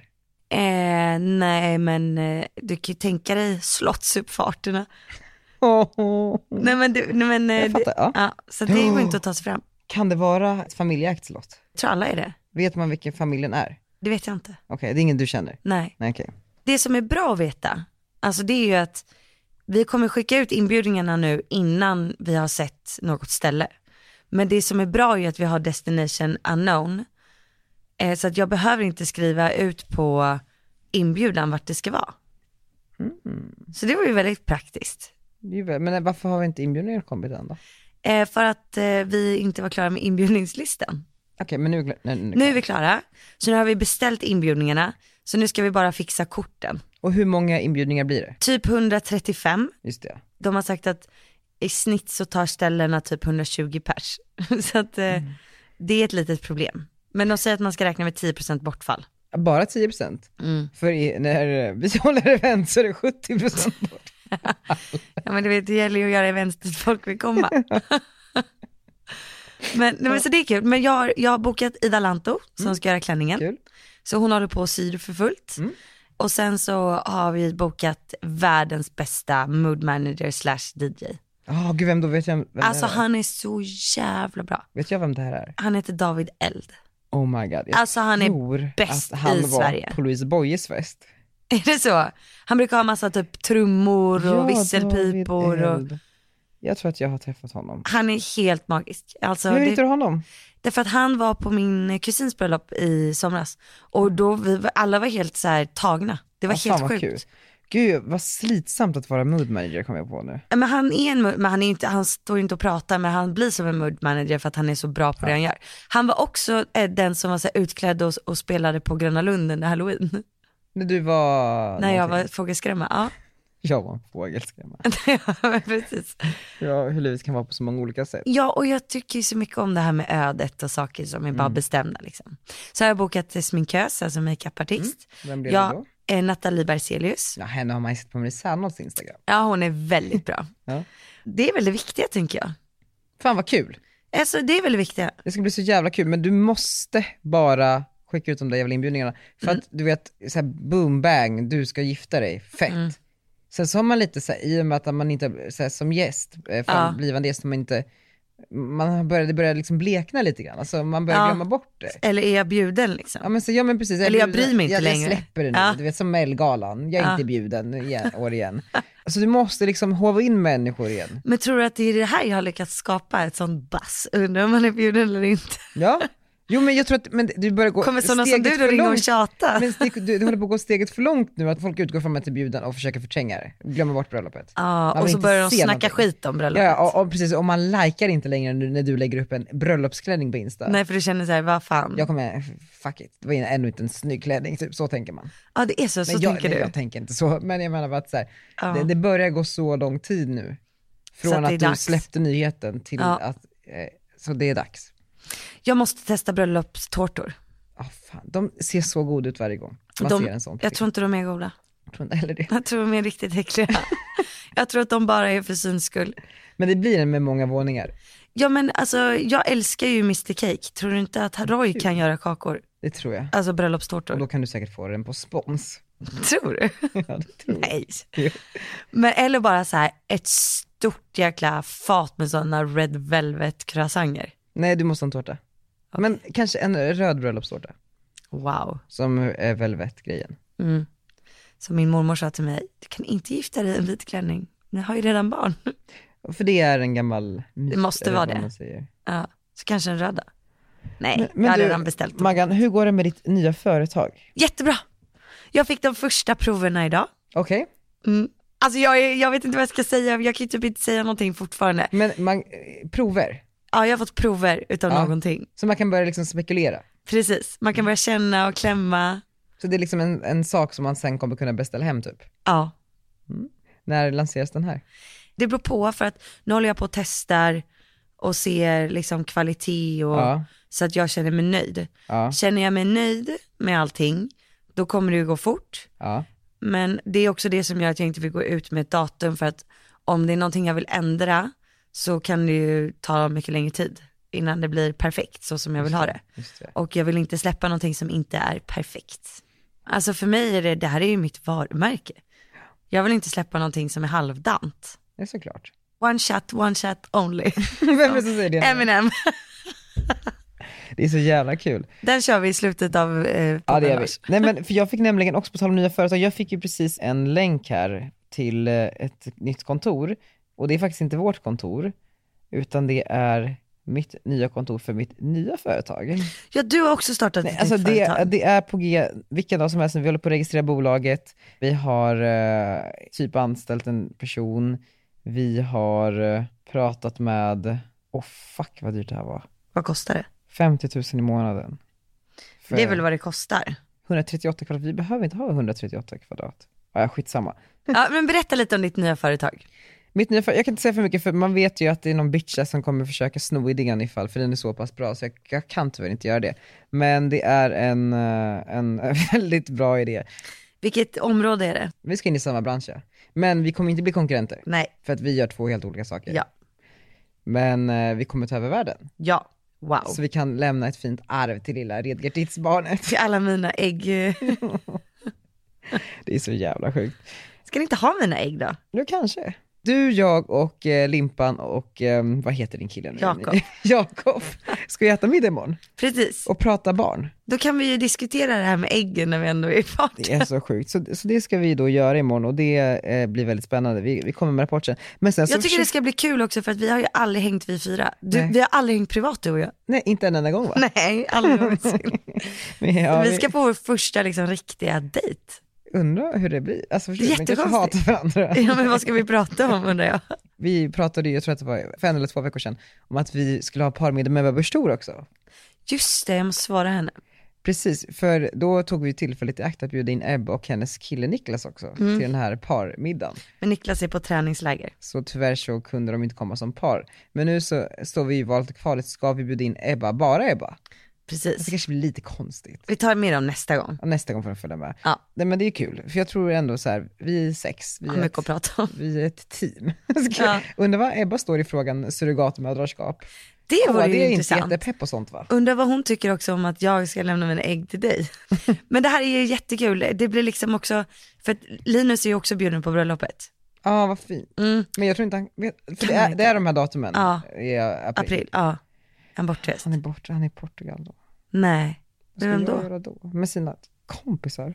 Speaker 2: Eh, nej men eh, du kan ju tänka dig slottsuppfarterna. Nej men, du, nej, men eh,
Speaker 1: Jag fattar,
Speaker 2: det,
Speaker 1: ja.
Speaker 2: ja, så det går inte att ta sig fram.
Speaker 1: Kan det vara ett familjeägt slott?
Speaker 2: Jag tror alla är det.
Speaker 1: Vet man vilken familjen är?
Speaker 2: Det vet jag inte.
Speaker 1: Okej, det är ingen du känner?
Speaker 2: Nej.
Speaker 1: Nej okej.
Speaker 2: Det som är bra att veta, alltså det är ju att vi kommer skicka ut inbjudningarna nu innan vi har sett något ställe. Men det som är bra är ju att vi har destination unknown. Eh, så att jag behöver inte skriva ut på inbjudan vart det ska vara.
Speaker 1: Mm.
Speaker 2: Så det var ju väldigt praktiskt.
Speaker 1: Det är ju väl- Men varför har vi inte inbjudningar kommit än då?
Speaker 2: Eh, för att eh, vi inte var klara med inbjudningslistan.
Speaker 1: Okej, men nu, nu, nu,
Speaker 2: Nu är vi klara, så nu har vi beställt inbjudningarna. Så nu ska vi bara fixa korten.
Speaker 1: Och hur många inbjudningar blir det?
Speaker 2: Typ 135
Speaker 1: Just det.
Speaker 2: de har sagt att i snitt så tar ställena typ 120 pers. Så att eh, det är ett litet problem. Men de säger att man ska räkna med 10% bortfall.
Speaker 1: Bara 10%?
Speaker 2: Mm.
Speaker 1: För i, när vi håller event så är det 70% bort.
Speaker 2: Ja men du vet, det gäller ju att göra events dit folk vill komma. men, nej, men så det är kul. Men jag har, jag har bokat Ida Lanto som ska göra klänningen.
Speaker 1: Kul.
Speaker 2: Så hon håller på och syr för fullt.
Speaker 1: Mm.
Speaker 2: Och sen så har vi bokat världens bästa mood manager slash DJ.
Speaker 1: Ja, gud vem då? Vet jag vem det
Speaker 2: Alltså
Speaker 1: här är?
Speaker 2: han är så jävla bra.
Speaker 1: Vet jag vem det här är?
Speaker 2: Han heter David Eld.
Speaker 1: Oh my god. Jag
Speaker 2: Alltså, han är
Speaker 1: tror
Speaker 2: bäst
Speaker 1: att han
Speaker 2: i
Speaker 1: var
Speaker 2: Sverige.
Speaker 1: på Louise Boyes fest.
Speaker 2: Är det så? Han brukar ha massa typ trummor och
Speaker 1: Ja,
Speaker 2: visselpipor
Speaker 1: David
Speaker 2: och
Speaker 1: Eld. Jag tror att jag har träffat honom.
Speaker 2: han är helt magisk. Alltså,
Speaker 1: Hur
Speaker 2: det,
Speaker 1: hittar du honom?
Speaker 2: därför att han var på min kusins bröllop i somras och då vi var- alla var helt så här tagna. Det var
Speaker 1: Ja, fan,
Speaker 2: helt
Speaker 1: vad
Speaker 2: sjukt.
Speaker 1: kul. Gud vad slitsamt att vara mood manager kom jag på nu.
Speaker 2: Men han är en mood- men han, är inte, han står inte och pratar men han blir som en mood manager för att han är så bra på det han gör. Han var också eh, den som var så här utklädd och, och spelade på Gröna Lund under halloween.
Speaker 1: När du var...
Speaker 2: När jag
Speaker 1: någonting.
Speaker 2: var fågelskrämma. Ja.
Speaker 1: Jag var en fågel skrev man.
Speaker 2: Ja, precis.
Speaker 1: Ja, hur livet kan vara på så många olika sätt.
Speaker 2: Ja, och jag tycker ju så mycket om det här med ödet och saker som är bara bestämda. Liksom. Så har jag bokat eh, sminkös, alltså makeupartist.
Speaker 1: Vem blev det
Speaker 2: Jag
Speaker 1: då?
Speaker 2: är Nathalie Berzelius.
Speaker 1: Ja, henne har man ju sett på Marisannos Instagram.
Speaker 2: Ja, hon är väldigt bra.
Speaker 1: Ja.
Speaker 2: Det är väl det viktiga tänker jag.
Speaker 1: Fan vad kul.
Speaker 2: Alltså det är väl det viktiga.
Speaker 1: Det ska bli så jävla kul, men du måste bara skicka ut de där jävla inbjudningarna. För
Speaker 2: Mm.
Speaker 1: att du vet, så här, boom bang, du ska gifta dig, fett.
Speaker 2: Mm.
Speaker 1: Sen så har man lite så här, i och med att man inte, så här, som gäst, eh, för
Speaker 2: Ja.
Speaker 1: blivande gäst, man inte, man börjar, det börjar liksom blekna lite grann, alltså man börjar
Speaker 2: Ja.
Speaker 1: glömma bort det.
Speaker 2: Eller är jag bjuden liksom?
Speaker 1: Ja men, så, ja, men precis.
Speaker 2: Eller jag
Speaker 1: bjuder-
Speaker 2: bryr mig inte
Speaker 1: jag,
Speaker 2: längre.
Speaker 1: Jag släpper det nu,
Speaker 2: Ja.
Speaker 1: du vet som Mellgalan, jag är
Speaker 2: Ja.
Speaker 1: inte bjuden igen, år igen. Alltså du måste liksom hova in människor igen.
Speaker 2: Men tror du att det är det här jag har lyckats skapa, ett sånt buzz? Undrar om man är bjuden eller inte.
Speaker 1: Ja. Jo men jag tror att, men du börjar gå
Speaker 2: Kommer sådana som
Speaker 1: steget
Speaker 2: du då
Speaker 1: för
Speaker 2: ringa och
Speaker 1: långt.
Speaker 2: tjata?
Speaker 1: Men stick, du, du håller på att gå steget för långt nu, att folk utgår från att det är bjuden och försöker förtränga det. Glömmer bort bröllopet.
Speaker 2: Ja,
Speaker 1: vill
Speaker 2: och så
Speaker 1: inte
Speaker 2: börjar de
Speaker 1: se
Speaker 2: snacka
Speaker 1: någonting.
Speaker 2: skit om
Speaker 1: Ja,
Speaker 2: bröllopet.
Speaker 1: ja och, och precis. Och man likar inte längre nu när du lägger upp en bröllopsklänning på Insta.
Speaker 2: Nej, för du känner så här, vad fan.
Speaker 1: Jag kommer, fuck it, det var ännu inte en snygg klänning, typ. så tänker man.
Speaker 2: Ja, det är så, så
Speaker 1: men jag,
Speaker 2: tänker
Speaker 1: nej,
Speaker 2: du.
Speaker 1: jag tänker inte så, men jag menar bara att så här,
Speaker 2: Ja.
Speaker 1: det, det börjar gå så lång tid nu.
Speaker 2: Så att
Speaker 1: Från
Speaker 2: det
Speaker 1: att,
Speaker 2: är
Speaker 1: du
Speaker 2: dags.
Speaker 1: släppte nyheten till
Speaker 2: Ja.
Speaker 1: att, eh, så det är dags.
Speaker 2: Jag måste testa bröllopstårtor.
Speaker 1: Ah, fan. De ser så goda ut varje gång man
Speaker 2: De,
Speaker 1: ser en sån. på
Speaker 2: jag tror inte de är goda.
Speaker 1: film. tror inte heller det.
Speaker 2: Jag tror de är riktigt äckliga. jag tror att de bara är för syns skull.
Speaker 1: Men det blir en med många våningar.
Speaker 2: Ja men alltså jag älskar ju Mr Cake. Tror du inte att Roy kan göra kakor?
Speaker 1: Det tror jag.
Speaker 2: Alltså
Speaker 1: Och
Speaker 2: bröllopstårtor.
Speaker 1: då kan du säkert få den på spons.
Speaker 2: Tror du?
Speaker 1: Ja, det tror jag.
Speaker 2: Nej.
Speaker 1: Jo.
Speaker 2: Men eller bara så här ett stort jäkla fat med sådana red velvet croissanter.
Speaker 1: Nej, du måste ha en tårta. Men kanske en röd bröllopstårta,
Speaker 2: Wow.
Speaker 1: som är velvetgrejen.
Speaker 2: Mm. Så min mormor sa till mig, du kan inte gifta dig i en vit klänning. Ni har ju redan barn.
Speaker 1: För det är en gammal myt,
Speaker 2: Det måste
Speaker 1: eller
Speaker 2: vara
Speaker 1: vad
Speaker 2: det.
Speaker 1: man säger.
Speaker 2: Ja. Så kanske en röda. Nej,
Speaker 1: Men- men
Speaker 2: jag hade
Speaker 1: du,
Speaker 2: redan beställt dem.
Speaker 1: Maggan, hur går det med ditt nya företag?
Speaker 2: Jättebra. Jag fick de första proverna idag.
Speaker 1: Okej,
Speaker 2: Mm. Alltså jag, är- jag vet inte vad jag ska säga, jag kan ju typ inte säga någonting fortfarande.
Speaker 1: men man, eh, prover,
Speaker 2: Ja, jag har fått prover utav
Speaker 1: Ja.
Speaker 2: någonting.
Speaker 1: så man kan börja liksom spekulera.
Speaker 2: Precis, man kan börja känna och klämma.
Speaker 1: Så det är liksom en, en sak som man sen kommer kunna beställa hem typ.
Speaker 2: Ja,
Speaker 1: När lanseras den här?
Speaker 2: det beror på för att nu håller jag på och testar och ser liksom kvalitet och
Speaker 1: Ja.
Speaker 2: så att jag känner mig nöjd.
Speaker 1: Ja,
Speaker 2: Känner jag mig nöjd med allting, då kommer det ju gå fort.
Speaker 1: ja,
Speaker 2: Men det är också det som gör att jag inte vill gå ut med ett datum för att om det är någonting jag vill ändra så kan det ju ta mycket längre tid innan det blir perfekt så som jag vill ha det.
Speaker 1: just det.
Speaker 2: Och jag vill inte släppa någonting som inte är perfekt. Alltså för mig är det, det här är ju mitt varumärke. Jag vill inte släppa någonting som är halvdant.
Speaker 1: Det är såklart.
Speaker 2: One shot, one shot only.
Speaker 1: Vem är det som säger det? nu?
Speaker 2: Eminem.
Speaker 1: Det är så jävla kul.
Speaker 2: Den kör vi i slutet av eh,
Speaker 1: Ja det
Speaker 2: podden,
Speaker 1: gör vi.
Speaker 2: Lars.
Speaker 1: Nej men för jag fick nämligen också på tal om nya företag, jag fick ju precis en länk här till eh, ett nytt kontor. Och det är faktiskt inte vårt kontor, utan det är mitt nya kontor för mitt nya företag.
Speaker 2: Ja, du har också startat
Speaker 1: Nej,
Speaker 2: ett
Speaker 1: alltså
Speaker 2: nytt
Speaker 1: det,
Speaker 2: företag.
Speaker 1: det är på G vilken dag som helst, vi håller på att registrera bolaget, vi har eh, typ anställt en person, vi har eh, pratat med, åh oh, fuck vad dyrt det här var,
Speaker 2: Vad kostar det?
Speaker 1: 50 000 i månaden. För-
Speaker 2: Det är väl vad det kostar.
Speaker 1: 138 kvadrat, vi behöver inte ha 138 kvadrat. Ja, ja, skitsamma.
Speaker 2: Ja, men berätta lite om ditt nya företag.
Speaker 1: Mitt nya, för- jag kan inte säga för mycket för man vet ju att det är någon bitch där som kommer försöka sno idén ifall, för den är så pass bra så jag, jag kan tyvärr inte göra det. Men det är en, eh, en väldigt bra idé.
Speaker 2: Vilket område är det?
Speaker 1: Vi ska in i samma bransch ja. Men vi kommer inte bli konkurrenter,
Speaker 2: Nej,
Speaker 1: för att vi gör två helt olika saker.
Speaker 2: ja,
Speaker 1: Men eh, vi kommer ta över världen,
Speaker 2: ja, wow.
Speaker 1: så vi kan lämna ett fint arv till lilla Redgertidsbarnet.
Speaker 2: Till alla mina ägg. eh,
Speaker 1: Det är så jävla sjukt.
Speaker 2: Ska ni inte ha mina ägg då?
Speaker 1: Nu kanske. Du, jag och eh, Limpan och, eh, vad heter din kille nu?
Speaker 2: Jakob.
Speaker 1: Jakob. Ska vi äta middag imorgon
Speaker 2: Precis.
Speaker 1: och prata barn.
Speaker 2: Då kan vi ju diskutera det här med äggen när vi ändå är i fart.
Speaker 1: Det är så sjukt. Så, så det ska vi då göra imorgon och det eh, blir väldigt spännande. Vi, vi kommer med rapport sen. Men sen så
Speaker 2: Jag tycker det
Speaker 1: försöker-
Speaker 2: ska bli kul också för att vi har ju aldrig hängt vi fyra. Du,
Speaker 1: alltså, Nej.
Speaker 2: vi har aldrig hängt privat du och jag.
Speaker 1: Nej, inte en enda gång va?
Speaker 2: Nej, aldrig någonsin.
Speaker 1: Men, ja,
Speaker 2: vi ska på vår första liksom riktiga dejt.
Speaker 1: vi undrar hur det blir. Alltså förstår du? Man kanske hatar
Speaker 2: Jättekonstigt.
Speaker 1: varandra.
Speaker 2: Ja men vad ska vi prata om undrar jag.
Speaker 1: Vi pratade ju, jag tror att det var för en eller två veckor sedan, om att vi skulle ha parmiddag med Ebba Busch Thor också.
Speaker 2: Just det, jag måste svara henne.
Speaker 1: Precis, för då tog vi tillfället i akt att bjuda in Ebba och hennes kille Niklas också
Speaker 2: Mm.
Speaker 1: till den här parmiddagen.
Speaker 2: Men Niklas är på träningsläger.
Speaker 1: Så tyvärr så kunde de inte komma som par. Men nu så står vi i valet och kvalet, ska vi bjuda in Ebba, bara Ebba? Alltså, Det
Speaker 2: Precis.
Speaker 1: kanske blir lite konstigt.
Speaker 2: Vi tar med dem nästa gång.
Speaker 1: Ja, Nästa gång får de följa med.
Speaker 2: Ja.
Speaker 1: Nej men det är kul, för jag tror ändå så här, vi är sex, vi
Speaker 2: Har
Speaker 1: är, ett,
Speaker 2: mycket att prata om.
Speaker 1: vi är ett team.
Speaker 2: Ja.
Speaker 1: Ja. Undrar vad Ebba står i frågan surrogatmödraskap.
Speaker 2: Det vore
Speaker 1: Åh, det
Speaker 2: ju
Speaker 1: är inte
Speaker 2: intressant.
Speaker 1: jättepepp på sånt va?
Speaker 2: Undrar vad hon tycker också om att jag ska lämna mina ägg till dig. Men det här är ju jättekul. Det blir liksom också, för att Linus är ju också bjuden på bröllopet.
Speaker 1: Ja, vad fint.
Speaker 2: Mm,
Speaker 1: Men jag tror inte han vet, för
Speaker 2: Kan
Speaker 1: det
Speaker 2: han
Speaker 1: är,
Speaker 2: inte?
Speaker 1: det är de här datumen
Speaker 2: Ja.
Speaker 1: i eh, april.
Speaker 2: april, ja. En bortrest.
Speaker 1: Han är borta, han är i Portugal då.
Speaker 2: Nej,
Speaker 1: Vad ska
Speaker 2: Vem då?
Speaker 1: jag göra då? Med sina kompisar?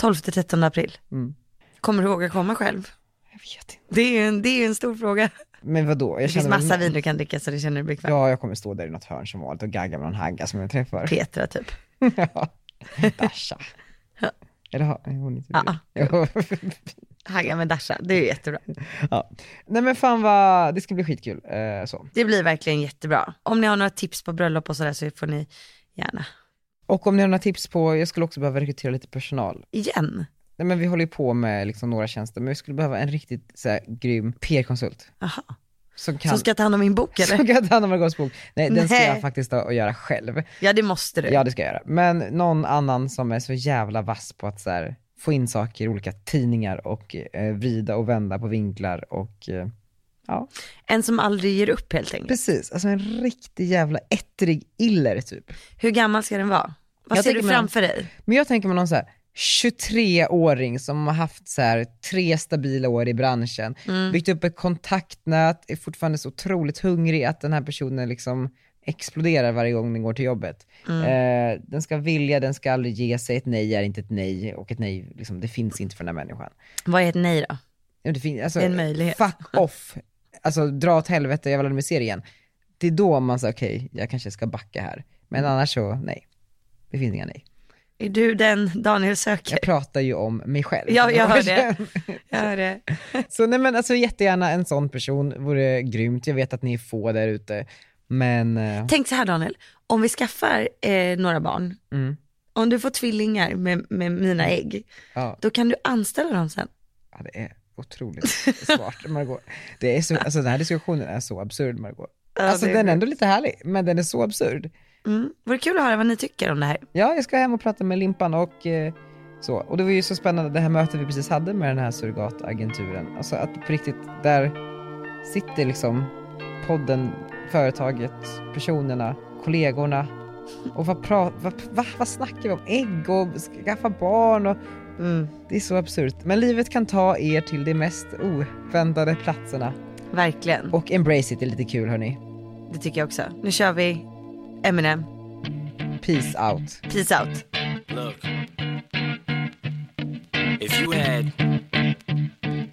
Speaker 2: 12-13 april.
Speaker 1: Mm.
Speaker 2: Kommer du våga komma själv?
Speaker 1: Jag vet inte.
Speaker 2: Det är ju en, det är ju en stor fråga.
Speaker 1: Men vadå? Jag
Speaker 2: Det finns
Speaker 1: känner
Speaker 2: massa
Speaker 1: väl-
Speaker 2: vin du kan dricka så det känner du dig bekväm.
Speaker 1: Ja, jag kommer stå där i något hörn som vanligt och gagga med någon hagga som jag träffar.
Speaker 2: Petra typ.
Speaker 1: Ja. Dasha.
Speaker 2: Ja.
Speaker 1: Eller har hon inte
Speaker 2: Ja,
Speaker 1: det? Jo.
Speaker 2: Hagga med Dasha, det är ju jättebra.
Speaker 1: ja. Nej men fan vad, det ska bli skitkul. Eh, så.
Speaker 2: Det blir verkligen jättebra. Om ni har några tips på bröllop och sådär så får ni gärna.
Speaker 1: Och om ni har några tips på, jag skulle också behöva rekrytera lite personal.
Speaker 2: Igen.
Speaker 1: Nej men vi håller ju på med liksom några tjänster, men vi skulle behöva en riktigt så här, grym PR-konsult.
Speaker 2: Aha.
Speaker 1: Som kan,
Speaker 2: Som ska ta hand om min bok eller?
Speaker 1: som kan ta hand om Margots bok. Nej, den ska
Speaker 2: Nej.
Speaker 1: jag faktiskt ta och göra själv.
Speaker 2: Ja det måste du.
Speaker 1: Ja, det ska jag göra. Men någon annan som är så jävla vass på att så här, få in saker i olika tidningar och eh, vrida och vända på vinklar och eh, ja.
Speaker 2: En som aldrig ger upp helt enkelt.
Speaker 1: Precis, alltså en riktig jävla ettrig iller typ.
Speaker 2: Hur gammal ska den vara? Vad
Speaker 1: Jag
Speaker 2: ser du
Speaker 1: tänker mig-
Speaker 2: framför dig?
Speaker 1: Men jag tänker mig någon så här 23-åring som har haft så här tre stabila år i branschen,
Speaker 2: Mm.
Speaker 1: byggt upp ett kontaktnät, är fortfarande så otroligt hungrig att den här personen liksom exploderar varje gång den går till jobbet.
Speaker 2: Mm.
Speaker 1: Eh, den ska vilja, den ska aldrig ge sig, ett nej är inte ett nej och ett nej, liksom, det finns inte för den här människan.
Speaker 2: Vad är ett nej då?
Speaker 1: Ja, Det finns, alltså,
Speaker 2: Det är en möjlighet.
Speaker 1: Fuck off, alltså dra åt helvete, jag vill aldrig mer se dig igen. Det är då man säger okej, jag kanske ska backa här. Men
Speaker 2: Mm.
Speaker 1: annars så, nej. Det finns inga nej.
Speaker 2: Är du den Daniel söker?
Speaker 1: Jag pratar ju om mig själv.
Speaker 2: Ja, jag hör det. Jag hör det.
Speaker 1: Så nej men alltså jättegärna en sån person, vore grymt. Jag vet att ni är få där ute. Men, eh,
Speaker 2: Tänk så här Daniel, om vi skaffar eh, några barn,
Speaker 1: mm,
Speaker 2: om du får tvillingar med, med mina ägg,
Speaker 1: ja,
Speaker 2: då kan du anställa dem sen.
Speaker 1: ja, det är otroligt smart Margot. Det är så, alltså den här diskussionen är så absurd Margot.
Speaker 2: Ja,
Speaker 1: Alltså
Speaker 2: det är
Speaker 1: den är
Speaker 2: bra.
Speaker 1: ändå lite härlig, men den är så absurd.
Speaker 2: Mm. Vore kul att höra vad ni tycker om det här.
Speaker 1: Ja, jag ska hem och prata med Limpan och eh, så. Och det var ju så spännande det här mötet vi precis hade med den här surrogatagenturen. Alltså att på riktigt, där sitter liksom podden, företaget, personerna, kollegorna. Och vad, pra- vad, vad, vad snackar vi om? Ägg och skaffa barn och det är så absurt. Men livet kan ta er till de mest oväntade platserna.
Speaker 2: Verkligen,
Speaker 1: Och embrace it är lite kul hörni.
Speaker 2: det tycker jag också. Nu kör vi Eminem,
Speaker 1: Peace out.
Speaker 2: peace out.
Speaker 3: Look, if you had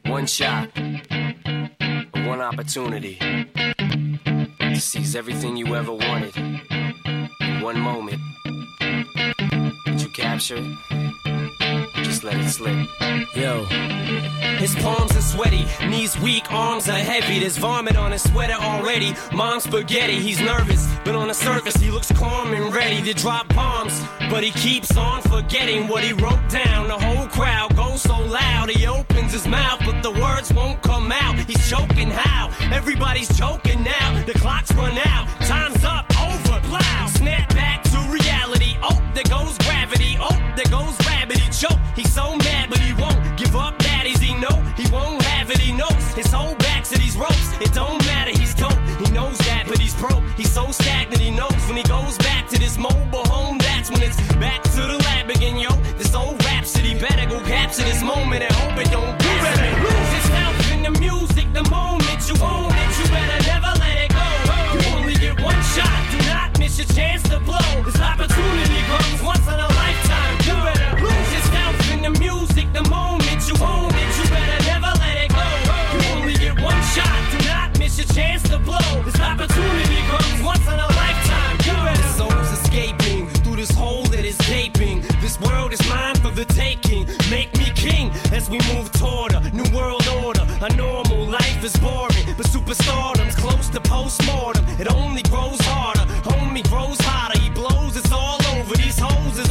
Speaker 3: one shot, one opportunity to seize everything you ever wanted in one moment, did you capture it? Just let it slip. Yo. His palms are sweaty, knees weak, arms are heavy. There's vomit on his sweater already. Mom's spaghetti, he's nervous, but on the surface he looks calm and ready to drop bombs. But he keeps on forgetting what he wrote down. The whole crowd goes so loud, he opens his mouth, but the words won't come out. He's choking how? Everybody's choking now. The clock's run out, time's up, over, plow. Snap back to reality. Oh, there goes gravity. Oh, there goes rabbit. He choke. He's so mad, but he won't give up. That is he know he won't have it. He knows his whole back to these ropes. It don't matter. He's dope. He knows that, but he's broke. He's so stagnant. He knows when he goes back to this mobile home. That's when it's back to the lab again, yo. This old rhapsody better go capture this moment and hope it don't. You better lose yourself in the music. The moment you own it, you better never let it go. You only get one shot. Do not miss your chance to blow. This opportunity comes once in a lifetime. You better lose yourself in the music. The moment you own it, you better never let it go. You only get one shot. Do not miss your chance to blow. This opportunity comes once in a lifetime. You better. Souls escaping through this hole that is gaping. This world is mine for the taking. Make me king as we move toward a new world order. A normal life is boring, but superstardom's close to postmortem. It only grows harder. Homie grows hotter. He blows. It's all over. These hoes is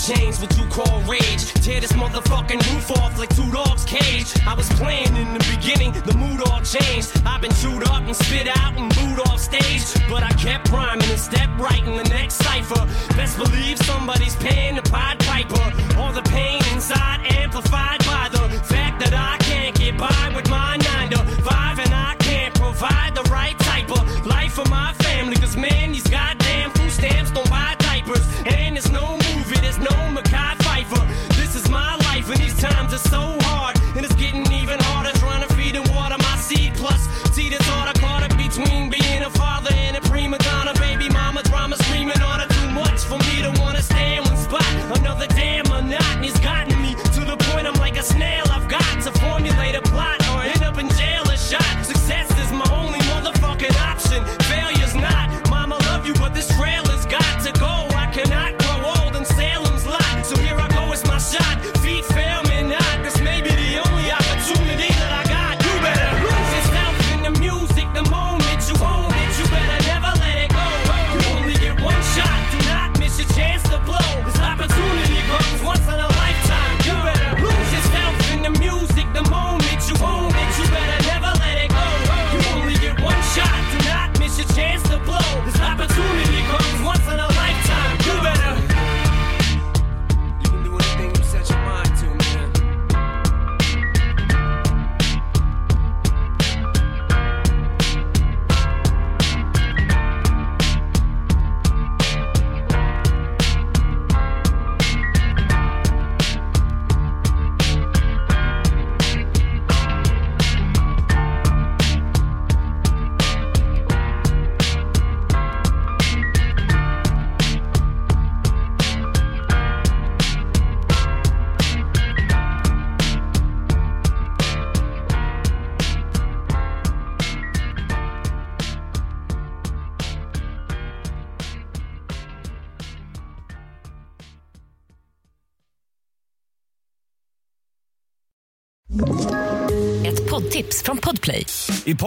Speaker 3: change what you call rage. Tear this motherfucking roof off like two dogs' cage. I was playing in the beginning, the mood all changed. I've been chewed up and spit out and booed off stage. But I kept rhyming and stepped right in the next cipher. Best believe somebody's paying the Pied Piper. All the pain inside amplified by the fact that I can't get by with my 9 to 5 and I can't provide the right type of life for my family. Cause man, these goddamn food stamps don't buy diapers. And there's no movie, there's no Mackay Pfeiffer. This is my life, and these times are so hard. And it's getting even harder trying to feed and water my seed. Plus, see this order caught up between being a father and a prima donna. Baby mama drama screaming on her too much for me to wanna stay in one spot. Another damn monotony's gotten me to the point I'm like a snail. I've got to formulate a plot or end up in jail or shot. Success is my only motherfucking option. Failure's not. Mama love you, but this trail has got to go. I cannot grow old in Salem's lot. So here I go, it's my shot. Feet fail me not. This may be the only opportunity that I got. You better lose yourself in the music the moment you own it. You better never let it go. You only get one shot. Do not miss your chance to blow. This opportunity comes once in a lifetime. You better lose yourself in the music the moment you own it. You better never let it go. You only get one shot. Do not miss your chance to blow. This opportunity comes once in a lifetime. You better. You can do anything you set your mind to, man.
Speaker 4: Ett poddtips från Podplay.
Speaker 5: I